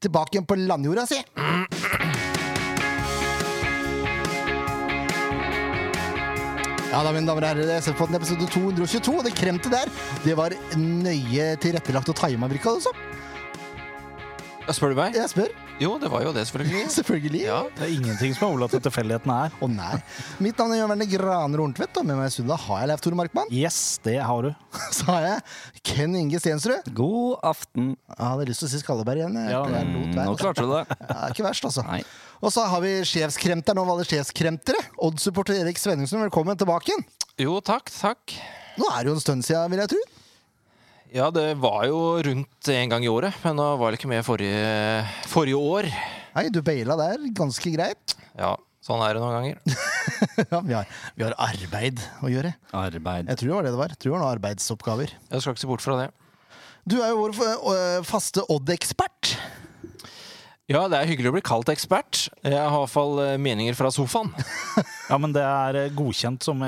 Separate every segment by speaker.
Speaker 1: tilbake igjen på landjorda si. Ja da, mine damer og herrer, det er Selfpodden episode 222, og det kremte der, det var nøye tilrettelagt og tima, virka det som.
Speaker 2: Ja, spør du meg?
Speaker 1: Jeg spør.
Speaker 2: Jo, det var jo det, selvfølgelig.
Speaker 1: Selvfølgelig.
Speaker 2: Ja.
Speaker 3: Det er ingenting som er overlatt til tilfeldighetene her.
Speaker 1: Å nei. Mitt navn er Jørn Verne Graner Horntvedt, og med meg i studio har jeg Leif Tore Markmann.
Speaker 3: Yes, det har du.
Speaker 1: Så har jeg Ken Inge Stensrud.
Speaker 4: God aften.
Speaker 1: Jeg hadde lyst til å si Skalleberg igjen. jeg.
Speaker 3: Ja,
Speaker 1: Det er lot være,
Speaker 4: Nå
Speaker 1: altså.
Speaker 4: klarte du det.
Speaker 1: Det er ikke verst, altså.
Speaker 4: Nei.
Speaker 1: Og så har vi sjefskremteren og alle sjefskremtere. Odd-supporter Erik Svenningsen, velkommen tilbake igjen.
Speaker 2: Jo, takk, takk.
Speaker 1: Nå er det jo en stund siden, vil jeg tro.
Speaker 2: Ja, det var jo rundt en gang i året, men nå var jeg ikke med forrige, forrige år.
Speaker 1: Nei, du baila der ganske greit.
Speaker 2: Ja, sånn er det noen ganger.
Speaker 1: Ja, vi, har, vi har arbeid å gjøre.
Speaker 4: Arbeid.
Speaker 1: Jeg tror det var det det var. Jeg tror det var noen arbeidsoppgaver.
Speaker 2: Jeg skal ikke se bort fra det.
Speaker 1: Du er jo vår øh, faste Odd-ekspert.
Speaker 2: Ja, det er hyggelig å bli kalt ekspert. Jeg har i hvert fall eh, meninger fra sofaen.
Speaker 3: Ja, men det er eh, godkjent som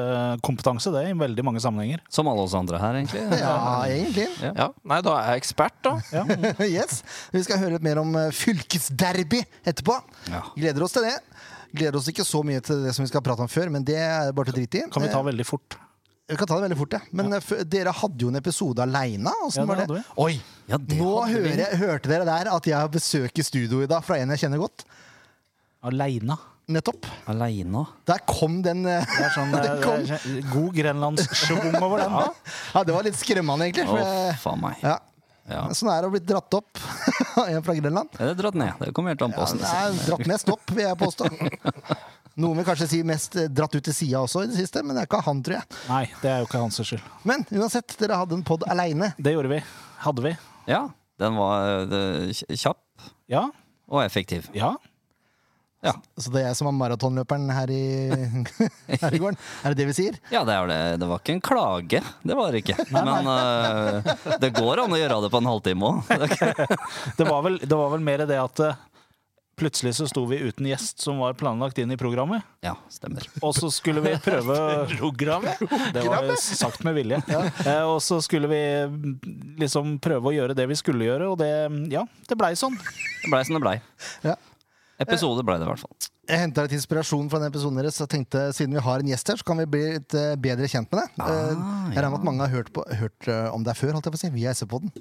Speaker 3: ekspertkompetanse, det, i veldig mange sammenhenger.
Speaker 4: Som alle oss andre her, egentlig.
Speaker 1: Ja, egentlig.
Speaker 2: Ja, Nei, da er jeg ekspert, da.
Speaker 1: yes. Vi skal høre litt mer om eh, fylkesderby etterpå.
Speaker 4: Ja.
Speaker 1: Gleder oss til det. Gleder oss ikke så mye til det som vi skal prate om før, men det er bare til å drite i.
Speaker 3: Kan vi ta
Speaker 1: Eh,
Speaker 3: veldig fort?
Speaker 1: vi kan ta det veldig fort, ja. Men eh, f- dere hadde jo en episode aleine.
Speaker 3: Ja, det
Speaker 1: var
Speaker 3: hadde
Speaker 1: det?
Speaker 3: vi.
Speaker 1: Oi!
Speaker 4: Ja, det
Speaker 1: Nå
Speaker 4: hadde vi.
Speaker 1: hører, hørte dere der at jeg har besøk i studio i dag fra en jeg kjenner godt.
Speaker 3: Aleine.
Speaker 1: Nettopp.
Speaker 4: Aleine.
Speaker 1: Der kom den eh,
Speaker 3: Det er sånn eh,
Speaker 1: Det kom.
Speaker 3: det er god grenlandssjung over den.
Speaker 1: Ja, det var litt skremmende, egentlig.
Speaker 4: Å,
Speaker 1: For, eh,
Speaker 4: faen meg.
Speaker 1: ja.
Speaker 4: Ja.
Speaker 1: Sånn er det å bli dratt opp av en fra Grenland.
Speaker 4: Er det dratt ned? Det kommer helt an på oss.
Speaker 1: Det er dratt mest opp, vil jeg påstå. Noen vil kanskje si mest eh, dratt ut til sida også i det siste, men det er ikke han, tror jeg.
Speaker 3: Nei, det er jo ikke hans skyld.
Speaker 1: Men uansett, dere hadde en pod aleine.
Speaker 3: Det gjorde vi. Hadde vi.
Speaker 4: Ja, den var eh, kjapp
Speaker 3: Ja.
Speaker 4: og effektiv.
Speaker 3: Ja.
Speaker 4: Ja,
Speaker 1: Så det er jeg som er maratonløperen her i her i gården. Er det det vi sier?
Speaker 4: ja det, er det. det var ikke en klage. Det var det ikke. Men eh, det går an å gjøre det på en halvtime òg.
Speaker 3: Det var vel, det var vel mer det at eh, plutselig så sto vi uten gjest som var planlagt inn i programmet.
Speaker 4: Ja, stemmer.
Speaker 3: Og så skulle vi prøve Programmet? Det var jo sagt med vilje. Eh, Og så skulle vi mm, liksom prøve å gjøre det vi skulle gjøre, og det Ja, det blei sånn.
Speaker 4: Det blei som det blei.
Speaker 1: Ja.
Speaker 4: Episode blei det, i hvert fall.
Speaker 1: Jeg henta litt inspirasjon fra den episoden deres og tenkte siden vi har en gjest her, så kan vi bli litt eh, bedre kjent med
Speaker 4: Ah,
Speaker 1: deg. Eh, jeg regner med at mange har hørt, på, hørt eh, om deg før, holdt jeg på å si, via SV-podden.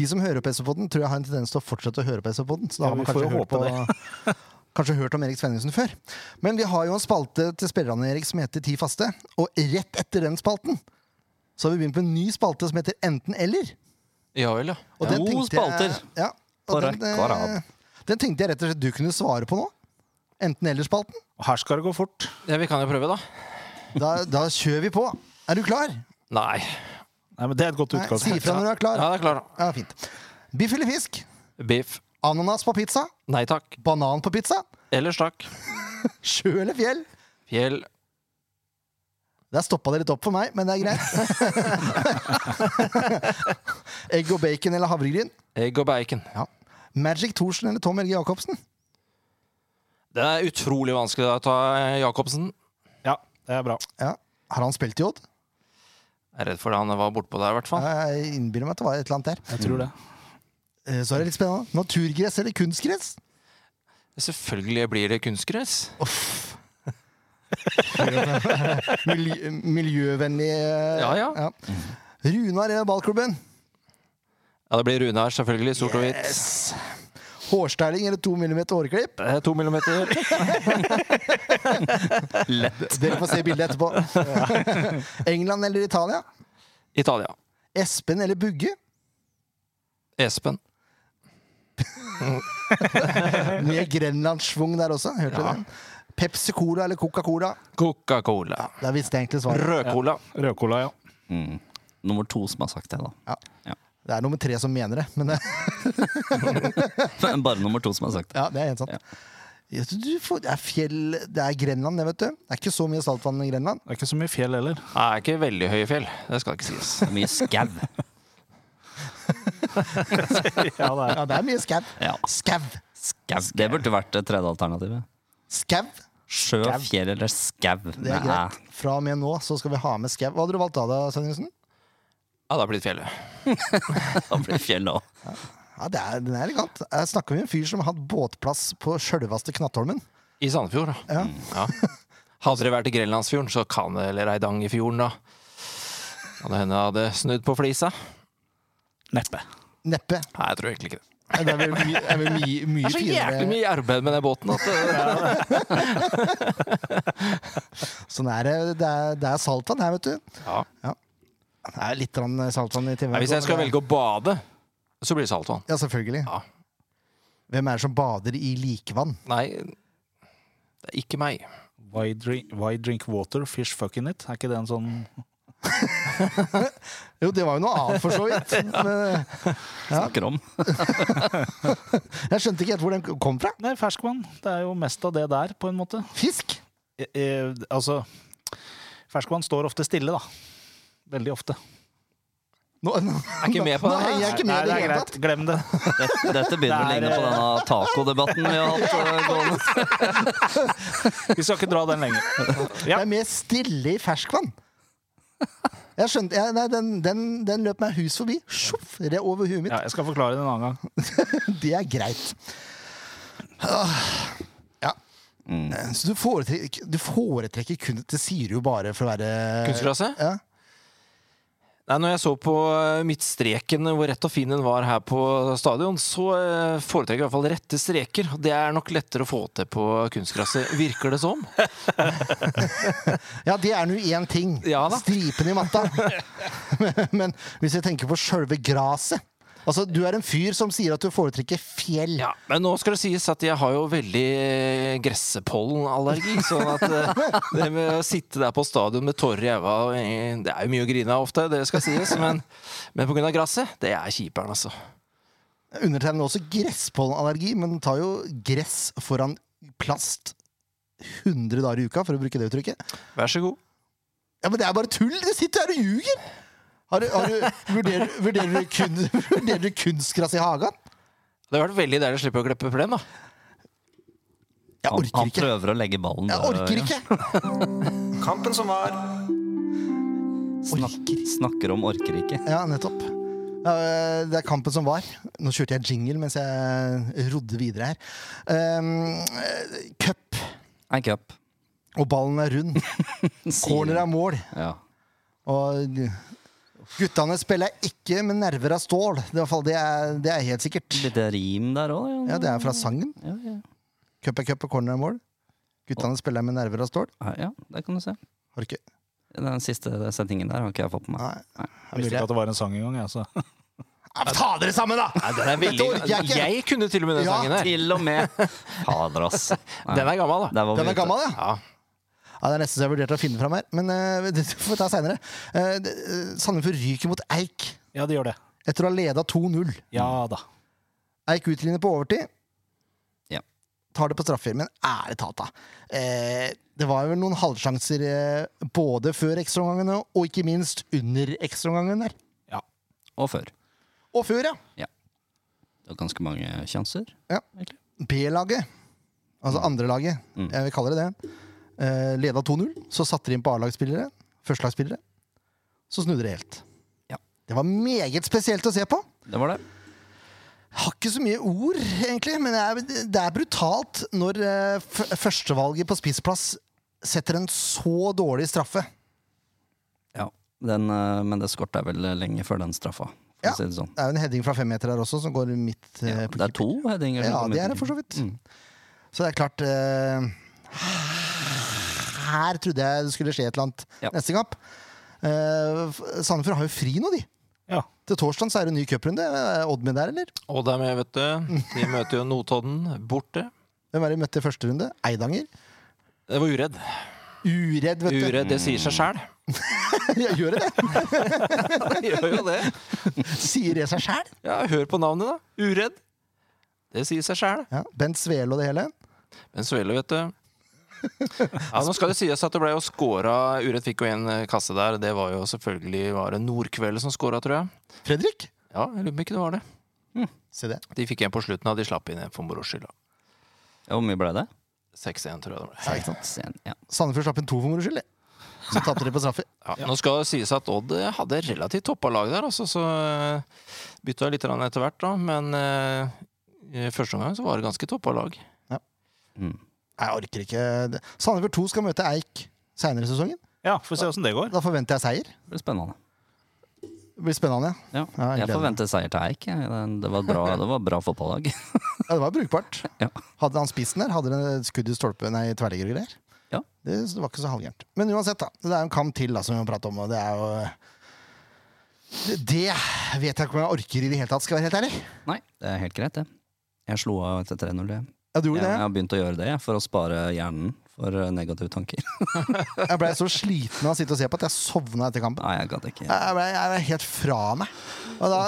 Speaker 1: De som hører på SV-podden, tror jeg har en tendens til å fortsette å høre på SV-podden. Så da
Speaker 3: Ja,
Speaker 1: har man
Speaker 3: vi får
Speaker 1: kanskje
Speaker 3: jo
Speaker 1: hørt, på, kanskje hørt om Erik Svenningsen før. Men vi har jo en spalte til spillerne Erik som heter Ti faste, og rett etter den spalten så har vi begynt med en ny spalte som heter Enten-eller.
Speaker 2: Ja vel, ja.
Speaker 1: Og den
Speaker 4: To
Speaker 1: tenkte
Speaker 4: spalter.
Speaker 1: Jeg, ja,
Speaker 4: På
Speaker 1: og den,
Speaker 4: rekke og rad.
Speaker 1: eh, den tenkte jeg rett og slett du kunne svare på nå. Enten-eller-spalten.
Speaker 3: Og her skal det gå fort.
Speaker 2: ja. Vi kan jo prøve, da.
Speaker 1: Da, da kjører vi på. Er du klar?
Speaker 2: Nei.
Speaker 3: Nei, men Det er et godt
Speaker 1: Nei, si
Speaker 3: utgangspunkt.
Speaker 1: ifra når du er klar.
Speaker 2: Ja, det er klart.
Speaker 1: Ja, fint. Biff eller fisk?
Speaker 2: Beef.
Speaker 1: Ananas på pizza?
Speaker 2: Nei takk.
Speaker 1: Banan på pizza?
Speaker 2: Ellers takk.
Speaker 1: Sjø eller fjell?
Speaker 2: Fjell.
Speaker 1: Der stoppa det litt opp for meg, men det er greit. Egg og bacon eller havregryn?
Speaker 2: Egg og bacon.
Speaker 1: Ja. Magic Thorsen eller Tom Helge Jacobsen?
Speaker 2: Det er utrolig vanskelig å ta eh, Jacobsen.
Speaker 3: Ja, det er bra.
Speaker 1: Ja. Har han spilt i Odd?
Speaker 2: Jeg er redd for det han var bortpå der, i hvert fall.
Speaker 1: Jeg innbiller meg at det var et eller annet der.
Speaker 3: Jeg tror det.
Speaker 1: Eh, Så er det litt spennende. Naturgress eller kunstgress?
Speaker 2: Selvfølgelig blir det kunstgress.
Speaker 1: Uff. Miljø, miljøvennlig eh,
Speaker 2: Ja, ja.
Speaker 1: Runar eller ballklubben?
Speaker 2: Ja, det blir Runar, selvfølgelig. Sort og hvitt.
Speaker 1: Hårstyling eller to millimeter hårklipp?
Speaker 2: Eh, To millimeter.
Speaker 1: Dere får se bildet etterpå. England eller Italia?
Speaker 2: Italia.
Speaker 1: Espen eller Bugge?
Speaker 2: Espen.
Speaker 1: Mye grenlandssvung der også. Hørte du den? Pepsi Cola eller Coca-Cola?
Speaker 2: Coca-Cola.
Speaker 1: Der visste jeg egentlig svaret.
Speaker 2: Rødcola.
Speaker 3: Rødcola, ja.
Speaker 4: Mm. Nummer to som har sagt det, da.
Speaker 1: Det er nummer tre som mener det, men eh, det,
Speaker 4: Men Bare nummer to som har sagt det.
Speaker 1: ja, det er helt sant. Ja, du- Du får, det er fjell Det er Grenland, det, vet du. Det er ikke så mye saltvann i Grenland.
Speaker 3: Det er ikke så mye fjell heller.
Speaker 2: Nei, ikke veldig høye fjell. Det skal ikke sies.
Speaker 4: Mye skau.
Speaker 3: Ja, det er.
Speaker 1: Ja, det er mye skau.
Speaker 4: Ja.
Speaker 1: Skau.
Speaker 4: Skau. Det burde vært det tredje alternativet.
Speaker 1: Skau.
Speaker 4: Sjø,
Speaker 3: Skau.
Speaker 4: fjell eller skau.
Speaker 1: Det er greit. Fra og med nå så skal vi ha med skau. Hva hadde du valgt da, da, Svenningsen?
Speaker 2: Ja, da blir det fjellet.
Speaker 4: Da blir det fjell òg.
Speaker 1: Ja, det er, den er elegant. Jeg snakker med en fyr som har hatt båtplass på sjølveste Knattholmen.
Speaker 2: I Sandefjord, da. Ja. Hadde det vært i Grenlandsfjorden, så kan det Eller Eidangerfjorden, da. Kan det hende jeg hadde snudd på flisa.
Speaker 3: Neppe.
Speaker 1: Neppe.
Speaker 2: Nei, jeg tror egentlig ikke det.
Speaker 1: Det er vel mye, er vel mye,
Speaker 2: Det
Speaker 1: mye
Speaker 2: er så Altså, jævlig
Speaker 1: finere.
Speaker 2: mye arbeid med den båten at eh, det,
Speaker 1: Sånn er det. Det er, det er saltvann her, vet du.
Speaker 2: ja.
Speaker 1: Det er litt grann saltvann i timen.
Speaker 2: Nei, Hvis jeg skal
Speaker 1: Men det-
Speaker 2: velge å bade, så blir det saltvann.
Speaker 1: Ja, selvfølgelig.
Speaker 2: Ja.
Speaker 1: Hvem er det som bader i likevann?
Speaker 2: Nei, det er ikke meg.
Speaker 3: Why drink, why drink water, fish fuck in it? Er ikke det en sånn
Speaker 1: Jo, det var jo noe annet, for så vidt. Men eh,
Speaker 4: Snakker om.
Speaker 1: jeg skjønte ikke helt hvor den kom fra.
Speaker 3: Nei, ferskvann. Det er jo mest av det der, på en måte.
Speaker 1: Fisk!
Speaker 3: Eh, eh, altså Ferskvann står ofte stille, da. Veldig ofte.
Speaker 1: Nå, nå,
Speaker 2: Jeg er ikke med på
Speaker 1: nå henger
Speaker 2: det.
Speaker 1: jeg ikke med i det
Speaker 3: Nei,
Speaker 1: hele
Speaker 3: er
Speaker 1: tatt.
Speaker 3: greit. Glem det.
Speaker 4: Dette, dette begynner
Speaker 3: Det
Speaker 4: å
Speaker 3: er,
Speaker 4: ligne på
Speaker 1: eh,
Speaker 4: denne tacodebatten vi har hatt. eh, gående.
Speaker 3: Vi skal ikke dra den lenger.
Speaker 1: Det
Speaker 3: Ja.
Speaker 1: er mer stille i ferskvann. Jeg skjønte, jeg, nei, den, den, den løp meg hus forbi. Sjoff, det er over huet mitt.
Speaker 3: ja, jeg skal forklare det en annen gang.
Speaker 1: Det er greit. Ah, Ja.
Speaker 2: Mm.
Speaker 1: Så du foretrekker, du foretrekker kun Det sier du jo bare for å være
Speaker 2: Kunstgresset?
Speaker 1: Ja.
Speaker 2: Nei, når jeg så på eh, midtstreken, hvor rett og fin den var her på stadion, så eh, foretrekker jeg i hvert fall rette streker. Det er nok lettere å få til på kunstgresset, virker det som.
Speaker 1: ja, det er nå én ting.
Speaker 2: Ja da.
Speaker 1: Stripene i matta. men, men hvis vi tenker på sjølve graset Altså, Du er en fyr som sier at du foretrekker fjell.
Speaker 2: Ja, Men nå skal det sies at jeg har jo veldig eh, gressepollenallergi. Sånn at eh, det med å sitte der på stadion med tårer i øynene og, eh, Det er jo mye å grine av ofte, det skal sies, men, men pga. gresset, det er kjiperen, altså.
Speaker 1: Undertegnede har også gresspollenallergi, men tar jo gress foran plast 100 dager i uka, for å bruke det uttrykket.
Speaker 2: Vær så god.
Speaker 1: Ja, Men det er bare tull! Du sitter her og ljuger! Har du, har du, vurderer, vurderer, du kun, vurderer du kunstgress i hagen?
Speaker 2: Det har vært veldig deilig å slippe å klippe plen, da.
Speaker 1: Jeg
Speaker 4: Han,
Speaker 1: orker
Speaker 4: han
Speaker 1: ikke!
Speaker 4: prøver å legge ballen eh,
Speaker 1: Jeg
Speaker 4: død,
Speaker 1: orker
Speaker 4: ja.
Speaker 1: ikke!
Speaker 5: Kampen som var.
Speaker 4: Snak, snakker om orker ikke.
Speaker 1: Ja, nettopp. Eh, Det er kampen som var. Nå kjørte jeg jingle mens jeg rodde videre her. Eh, Cup,
Speaker 4: En cup.
Speaker 1: og ballen er rund. Corner er mål.
Speaker 4: Ja.
Speaker 1: Og guttene spiller ikke med nerver av stål. Det er, i hvert fall- det er, det er helt sikkert.
Speaker 4: Litt rim der òg.
Speaker 1: Ja, Det er fra sangen.
Speaker 4: Ja, ja.
Speaker 1: Cup er cup og corner er mål. Guttene spiller med nerver av stål.
Speaker 4: Ja, ja, det kan du se.
Speaker 1: Har du ikke
Speaker 4: Den siste setningen der har ikke jeg fått med meg.
Speaker 1: Nei.
Speaker 3: Jeg visste ikke at det var en sang engang. jeg, så.
Speaker 1: Ja, men Ta dere sammen, da!
Speaker 2: Nei, den er
Speaker 1: Dette orker
Speaker 2: veldig...
Speaker 1: jeg ikke.
Speaker 2: Jeg kunne til og med den
Speaker 1: Ja,
Speaker 2: sangen der.
Speaker 4: Til og med! Fader, ass. Nei,
Speaker 2: Den er gammel, da.
Speaker 4: der var vi
Speaker 1: Den er
Speaker 4: ute.
Speaker 1: gammel, ja.
Speaker 2: Ja.
Speaker 1: ja det er nesten så jeg vurderte å finne fram her. Men eh, det får vi ta seinere. eh, Sandefjord ryker mot Eik
Speaker 3: Ja, det gjør det.
Speaker 1: etter å ha leda 2-0.
Speaker 3: Ja da.
Speaker 1: Eik utligner på overtid.
Speaker 4: Ja.
Speaker 1: Tar det på straffer, men ærlig talt, da. Eh, det var vel noen halvsjanser eh, både før ekstraomgangen og- og ikke minst under ekstraomgangen der.
Speaker 4: Og før.
Speaker 1: Og før, ja.
Speaker 4: Det var ganske mange sjanser.
Speaker 1: B-laget, altså andrelaget,
Speaker 4: Mm.
Speaker 1: jeg vil kalle det det, eh, leda 2-0. Så satte de inn på A-lagsspillere, førstelagsspillere. Så snudde det helt.
Speaker 4: Ja.
Speaker 1: Det var meget spesielt å se på.
Speaker 4: Det var det.
Speaker 1: Har ikke så mye ord, egentlig, men det er, det er brutalt når eh, f- førstevalget på spissplass setter en så dårlig straffe.
Speaker 4: Ja. Den, eh, men det skorta vel lenge før den straffa, for
Speaker 1: Ja.
Speaker 4: å si det sånn.
Speaker 1: Det er jo en heading fra femmeter her også, som går midt eh,
Speaker 4: Ja,
Speaker 1: på
Speaker 4: det er
Speaker 1: keeper.
Speaker 4: to headinger. som
Speaker 1: Ja,
Speaker 4: kom
Speaker 1: det
Speaker 4: ut.
Speaker 1: er det for så vidt.
Speaker 4: Mm.
Speaker 1: Så det er klart eh, Her trodde jeg det skulle skje et eller annet
Speaker 4: Ja.
Speaker 1: neste kamp. Eh, f- Sandefjord har jo fri nå, de.
Speaker 3: Ja.
Speaker 1: Til torsdag er det en ny cuprunde. Er Oddmen der, eller?
Speaker 2: Og det er med, vet du. De møter jo Notodden borte.
Speaker 1: Hvem er det de møtte i første runde? Eidanger?
Speaker 2: Det var uredd.
Speaker 1: Uredd, vet du.
Speaker 2: Uredd, det sier seg sjæl.
Speaker 1: Ja, Gjør det det?
Speaker 2: Det gjør jo det.
Speaker 1: Sier det seg sjæl?
Speaker 2: Ja, hør på navnet, da. Uredd. Det sier seg sjæl.
Speaker 1: Ja. Bent Svele og det hele.
Speaker 2: Men Svele, vet du. Ja, nå skal det sies at det ble jo skåra Uredd fikk jo en eh, kasse der. Det var jo selvfølgelig var det Nordkveldet som skåra, tror jeg.
Speaker 1: Fredrik?
Speaker 2: Ja, jeg lurer på om ikke det var det.
Speaker 1: Se det.
Speaker 2: De fikk en på slutten, og de slapp inn en for moro skyld. da.
Speaker 4: Ja, Hvor mye ble det?
Speaker 2: 6-1, tror jeg det ble.
Speaker 1: Ja, ikke sant?
Speaker 4: Sen, ja.
Speaker 1: Sandefjord slapp inn to for moro skyld. det. Så tapte de på straffer.
Speaker 2: Ja, Nå skal det sies at Odd eh, hadde relativt toppa lag der, altså, så eh, bytta litt grann etter hvert, da. Men eh, i første omgang så var det ganske toppa lag.
Speaker 1: Jeg orker ikke det. Sandefjord 2 skal møte Eik seinere i sesongen.
Speaker 3: Ja, får se åssen det går.
Speaker 1: Da forventer jeg seier.
Speaker 4: Det blir spennende.
Speaker 1: Det blir spennende. ja.
Speaker 4: Ja.
Speaker 1: Ja, jeg gleder
Speaker 4: jeg
Speaker 1: meg.
Speaker 4: forventer seier til Eik. jeg. Det det var et bra, det var et bra fotballag.
Speaker 1: Ja, det var brukbart.
Speaker 4: Ja.
Speaker 1: Hadde han spissen der? Hadde han skudd i stolpen, nei, tverrligger og greier?
Speaker 4: Ja.
Speaker 1: Det, så det var ikke så halvgærent. Men uansett, da. Det er en kamp til da, som vi må prate om, og det er jo Det- Det vet jeg ikke om jeg orker i det hele tatt, skal jeg være helt ærlig.
Speaker 4: Nei, det er helt greit, det. Jeg slo av etter 3-0. Jeg.
Speaker 1: Ja, du
Speaker 4: Jeg,
Speaker 1: gjorde
Speaker 4: jeg
Speaker 1: det?
Speaker 4: har begynt å gjøre det jeg, for å spare hjernen for eh, negative tanker.
Speaker 1: Jeg blei så sliten av å sitte og se på at jeg sovna etter kampen.
Speaker 4: Nei, jeg gadd ikke.
Speaker 1: Jeg ble, jeg ble helt fra meg. Og da,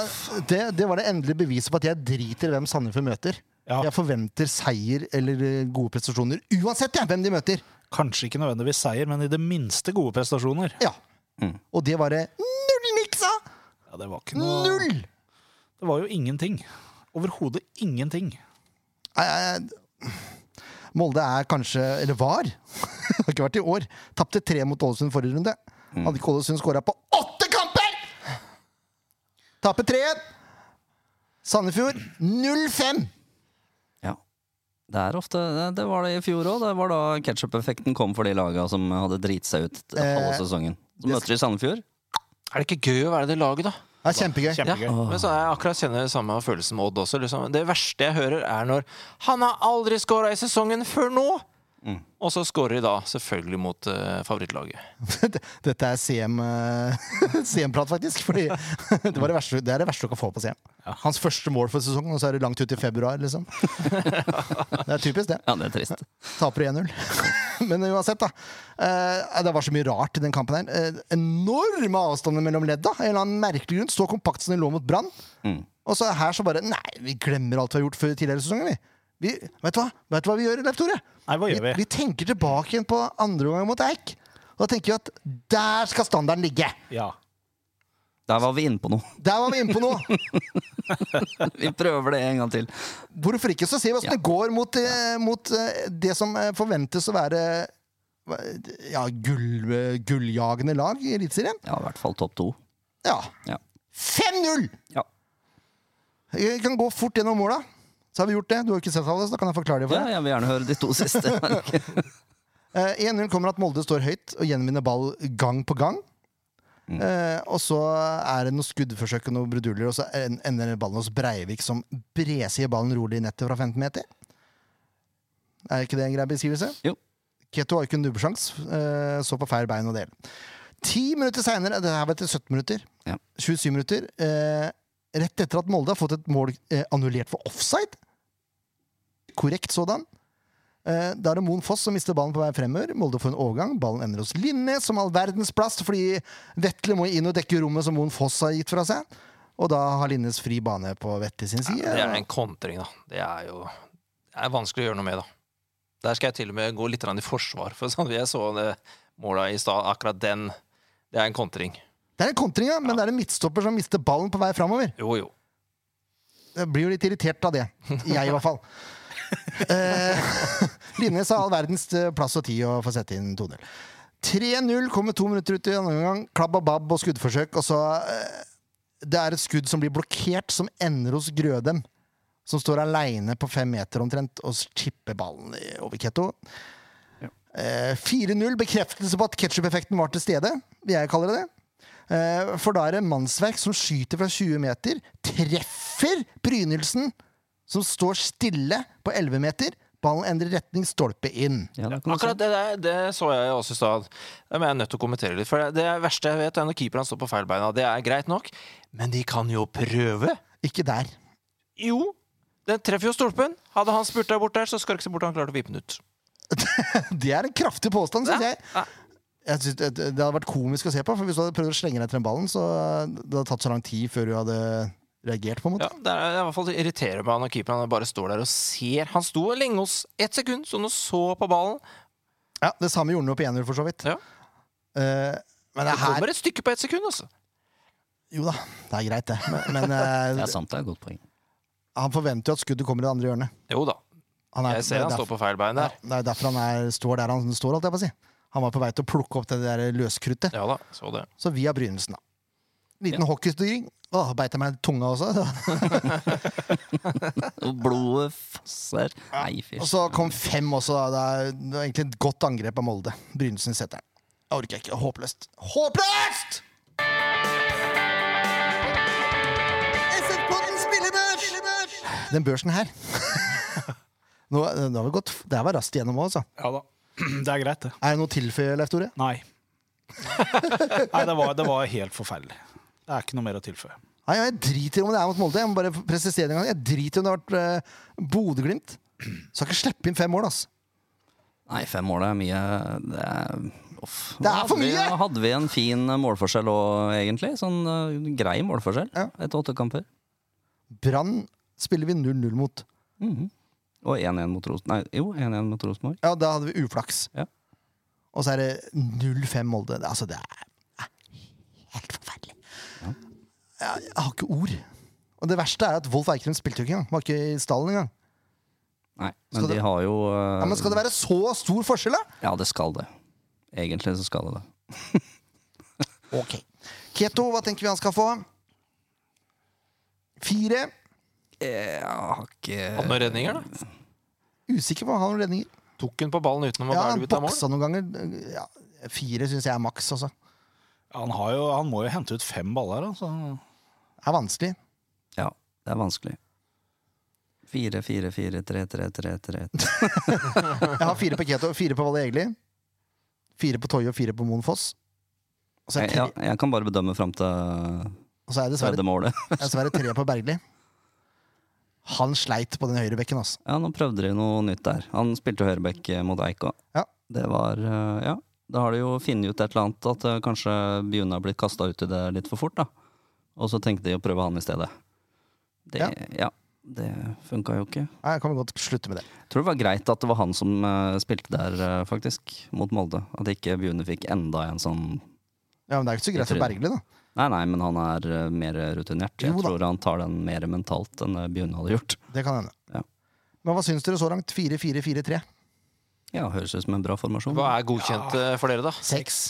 Speaker 1: det, det var det endelige beviset på at jeg driter i hvem Sandefjord møter.
Speaker 3: Ja.
Speaker 1: Jeg forventer seier eller eh, gode prestasjoner uansett jeg, hvem de møter.
Speaker 3: Kanskje ikke nødvendigvis seier, men i det minste gode prestasjoner.
Speaker 1: Ja. Og det var det null niks av!
Speaker 3: Ja, det var ikke noe
Speaker 1: Null!
Speaker 3: Det var jo ingenting. Overhodet ingenting.
Speaker 1: Nei, nei, nei. Molde er kanskje, eller var, det har ikke vært i år, tapte tre mot Ålesund forrige runde. Hadde ikke Ålesund skåra på åtte kamper! Taper 3-1. Sandefjord 0-5.
Speaker 4: Ja. Det er ofte det- Det var det i fjor òg. Det var da ketsjup-effekten kom for de laga som hadde driti seg ut halve
Speaker 1: Eh,
Speaker 4: sesongen. Så møter de Sandefjord.
Speaker 2: Er det ikke gøy å være i det laget, da?
Speaker 1: Det er kjempegøy.
Speaker 3: Kjempegøy.
Speaker 2: Ja, men så er jeg akkurat kjenner det samme følelsen med Odd også. Liksom. Det verste jeg hører, er når 'Han har aldri scora i sesongen før nå!' Og så scorer de da, selvfølgelig mot eh, favorittlaget.
Speaker 1: Dette er CM, eh, CM-prat, faktisk. Fordi det, var det, verste, det er det verste du kan få på CM. Hans første mål for sesongen, og så er det langt ut i februar, liksom. Det er typisk, det.
Speaker 4: Ja, det er trist.
Speaker 1: Taper 1-0. Men uansett, da. eh, det var så mye rart i den kampen her. Eh, enorme avstander mellom ledda. En eller annen merkelig grunn. Så kompakt som den lå mot Brann.
Speaker 4: Mm.
Speaker 1: Og så her så bare Nei, vi glemmer alt vi har gjort før tidligere i sesongen, vi. vi vet, du hva? vet du hva vi gjør, Leif Tore?
Speaker 3: Nei, hva gjør vi?
Speaker 1: Vi tenker tilbake igjen på andre omgang mot Eik. Og da tenker vi at der skal standarden ligge!
Speaker 3: Ja.
Speaker 4: Der var vi inne på noe.
Speaker 1: Der var vi inne på noe!
Speaker 4: Vi prøver det en gang til.
Speaker 1: Hvorfor ikke? Så ser vi åssen det går mot, eh, mot eh, det som eh, forventes å være eh, ja, gull, eh, gulljagende lag i Eliteserien.
Speaker 4: Ja, i hvert fall topp to.
Speaker 1: Ja.
Speaker 4: Ja.
Speaker 1: 5-0!
Speaker 4: Ja.
Speaker 1: Jeg kan gå fort gjennom måla. Så har vi gjort det. Du har jo ikke sett alle, så da kan jeg forklare det for
Speaker 4: Ja,
Speaker 1: deg.
Speaker 4: jeg vil gjerne høre de to siste.
Speaker 1: Eh, 1-0 kommer at Molde står høyt og gjenvinner ball gang på gang.
Speaker 4: Mm.
Speaker 1: Eh, og så er det noen skuddforsøk og noen bruduljer, og så en- ender ballen hos Breivik, som bresier ballen rolig i nettet fra 15 meter. Er ikke det en grei beskrivelse?
Speaker 4: Jo.
Speaker 1: Keto har ikke en dubbesjans. Eh, så på feil bein og del. Ti minutter seinere, det her var etter 17 minutter,
Speaker 4: Ja.
Speaker 1: 27 minutter, eh, rett etter at Molde har fått et mål eh, annullert for offside, korrekt sådan, eh, da er det Moen Foss som mister ballen på vei fremover. Molde får en overgang. Ballen ender hos Linnes, som all verdens plass, fordi Vetle må inn og dekke rommet som Moen Foss har gitt fra seg. Og da har Linnes fri bane på Vetle sin side.
Speaker 2: Det er en kontring, da. Det er jo det er vanskelig å gjøre noe med, da. Der skal jeg til og med gå litt grann i forsvar, for sånn, jeg så det måla i stad. Akkurat den. Det er en kontring.
Speaker 1: Det er en kontring, ja, men det er en midtstopper som mister ballen på vei fremover.
Speaker 2: Jo, jo.
Speaker 1: Jeg blir jo litt irritert av det. Jeg, i hvert fall. Eh, Linnes har all verdens eh, plass og tid å få sette inn 2-0. 3-0 kommer to minutter ut i andre omgang. Klabb og babb og skuddforsøk. Og så eh, Det er et skudd som blir blokkert, som ender hos Grødem. Som står aleine på fem meter omtrent og tipper ballen i- over Ketto. Eh, 4-0, bekreftelse på at ketsjup-effekten var til stede. Vil jeg kalle det det. Eh, For da er det mannsverk som skyter fra 20 meter, treffer Brynildsen, som står stille på 11 meter. Ballen endrer retning, stolpe inn.
Speaker 4: Ja, da kan du
Speaker 2: Akkurat
Speaker 4: se.
Speaker 2: det der, det så jeg også i stad. Det må jeg nødt til å kommentere litt. For det, det verste jeg vet, er når keeperne står på feilbeina. Det er greit nok, men de kan jo prøve.
Speaker 1: Ikke der.
Speaker 2: Jo. Den treffer jo stolpen. Hadde han spurt deg bort der, så skal du ikke se bort han klarte å vippe den ut.
Speaker 1: Det er en kraftig påstand, syns jeg.
Speaker 2: Ja.
Speaker 1: jeg synes det, det hadde vært komisk å se på, for hvis du hadde prøvd å slenge deg etter den ballen, så det hadde tatt så lang tid før du hadde reagert, på en måte.
Speaker 2: Ja, det er det er i hvert fall det irriterer meg når keeperen bare står der og ser. Han sto lenge hos ett sekund, så han så på ballen.
Speaker 1: Ja, Det samme gjorde han jo på 1-0, for så vidt.
Speaker 2: Ja.
Speaker 1: Eh, men det
Speaker 2: Det
Speaker 1: her
Speaker 2: kommer et stykke på ett sekund, altså.
Speaker 1: Jo da, det er greit, det. Men, men eh,
Speaker 4: Det er sant, det er et godt poeng.
Speaker 1: han forventer jo at skuddet kommer i det andre hjørnet.
Speaker 2: Jo da.
Speaker 1: Han er-
Speaker 2: Jeg ser han
Speaker 1: det er
Speaker 2: står på feil bein der.
Speaker 1: Ja, det er derfor han er, står der han står, holdt jeg på å si. Han var på vei til å plukke opp det der løskruttet.
Speaker 2: Ja da, så det.
Speaker 1: Så via brynelsen, da. Liten hockeystyring. Åh, beit jeg meg i tunga også.
Speaker 4: Og blodet fosser. Nei, fy
Speaker 1: Og så kom fem også. da. Det er- det var egentlig et godt angrep av Molde. Brynesen setter den. Jeg orker ikke. Håpløst. Håpløst! Den børsen her Nå, nå har vi gått Det her var raskt gjennom òg, altså.
Speaker 3: Ja da. Det er greit, det.
Speaker 1: Er det noe å tilføye, Leif Tore?
Speaker 3: Nei. Nei, det var, det var helt forferdelig. Det er ikke noe mer å tilføye.
Speaker 1: Nei, jeg driter om det er mot Molde. Jeg må bare presisere en gang. Jeg driter om det har vært uh, Bodø-Glimt. Skal ikke slippe inn fem mål, ass.
Speaker 4: Nei, fem mål er mye Det er, uff.
Speaker 1: Det er for
Speaker 4: Hadde vi-
Speaker 1: mye!
Speaker 4: Hadde vi en fin eh, målforskjell òg, egentlig? Sånn eh, grei målforskjell
Speaker 1: Ja.
Speaker 4: etter åtte kamper.
Speaker 1: Brann spiller vi 0-0 mot.
Speaker 4: Mhm. Og 1-1 mot Rosenborg. Nei, jo, 1-1 mot Rosenborg.
Speaker 1: Ja, da hadde vi uflaks.
Speaker 4: Ja.
Speaker 1: Og så er det 0-5 Molde. Det- Altså, det er er helt forferdelig. Jeg, jeg har ikke ord. Og det verste er at Wolf Eikrem spilte jo ikke engang. Var ikke i stallen engang.
Speaker 4: Nei,
Speaker 1: Skal
Speaker 4: men de
Speaker 1: det-
Speaker 4: har jo eh,
Speaker 1: Ja, men skal det være så stor forskjell, da?
Speaker 4: Ja, det skal det. Egentlig så skal det det.
Speaker 1: Ok. Keto, hva tenker vi han skal få? Fire.
Speaker 4: Jeg har ikke
Speaker 2: Hadde noen redninger, da.
Speaker 1: Usikker på om han har noen redninger.
Speaker 2: Tok hun på ballen utenom å
Speaker 1: Ja,
Speaker 2: være
Speaker 1: han
Speaker 2: ut av mål?
Speaker 1: boksa noen ganger. Ja, fire syns jeg er maks, altså.
Speaker 3: Han, har jo, han må jo hente ut fem baller, altså. da, så
Speaker 1: Det er vanskelig.
Speaker 4: Ja, det er vanskelig. 4-4-4-3-3-3-3.
Speaker 1: Jeg har fire på Keto, fire på Valle Egli, fire på Toje og fire på Moen Foss. Og så er,
Speaker 4: Jeg,
Speaker 1: det tre,
Speaker 4: ja, jeg kan bare bedømme fram til
Speaker 1: og så er det dessverre,
Speaker 4: tredje målet.
Speaker 1: dessverre tre på Bergli. Han sleit på den høyre bekken, altså.
Speaker 4: Ja, nå prøvde de noe nytt der. Han spilte høyrebekk mot Eik òg.
Speaker 1: Ja.
Speaker 4: Det var eh, Ja. Da har de jo funnet ut et eller annet at eh, kanskje Bjune har blitt kasta ut i det litt for fort, da. Og så tenkte de å prøve han i stedet. Det, ja.
Speaker 1: Ja.
Speaker 4: Det funka jo ikke.
Speaker 1: Nei, Jeg kan godt slutte med det.
Speaker 4: Tror det var greit at det var han som eh, spilte der, eh, faktisk. Mot Molde. At ikke Bjune fikk enda en sånn
Speaker 1: Ja, men Det er jo ikke så greit for Bergli, da.
Speaker 4: Nei, nei, men han er eh, mer rutinert. Jeg
Speaker 1: Jo da.
Speaker 4: tror han tar den mer mentalt enn eh, Bjune hadde gjort.
Speaker 1: Det kan hende.
Speaker 4: Ja.
Speaker 1: Men hva syns dere så langt? 4-4-4-3?
Speaker 4: Ja, høres ut som en bra formasjon.
Speaker 2: Hva er godkjent eh, for dere, da?
Speaker 1: Seks.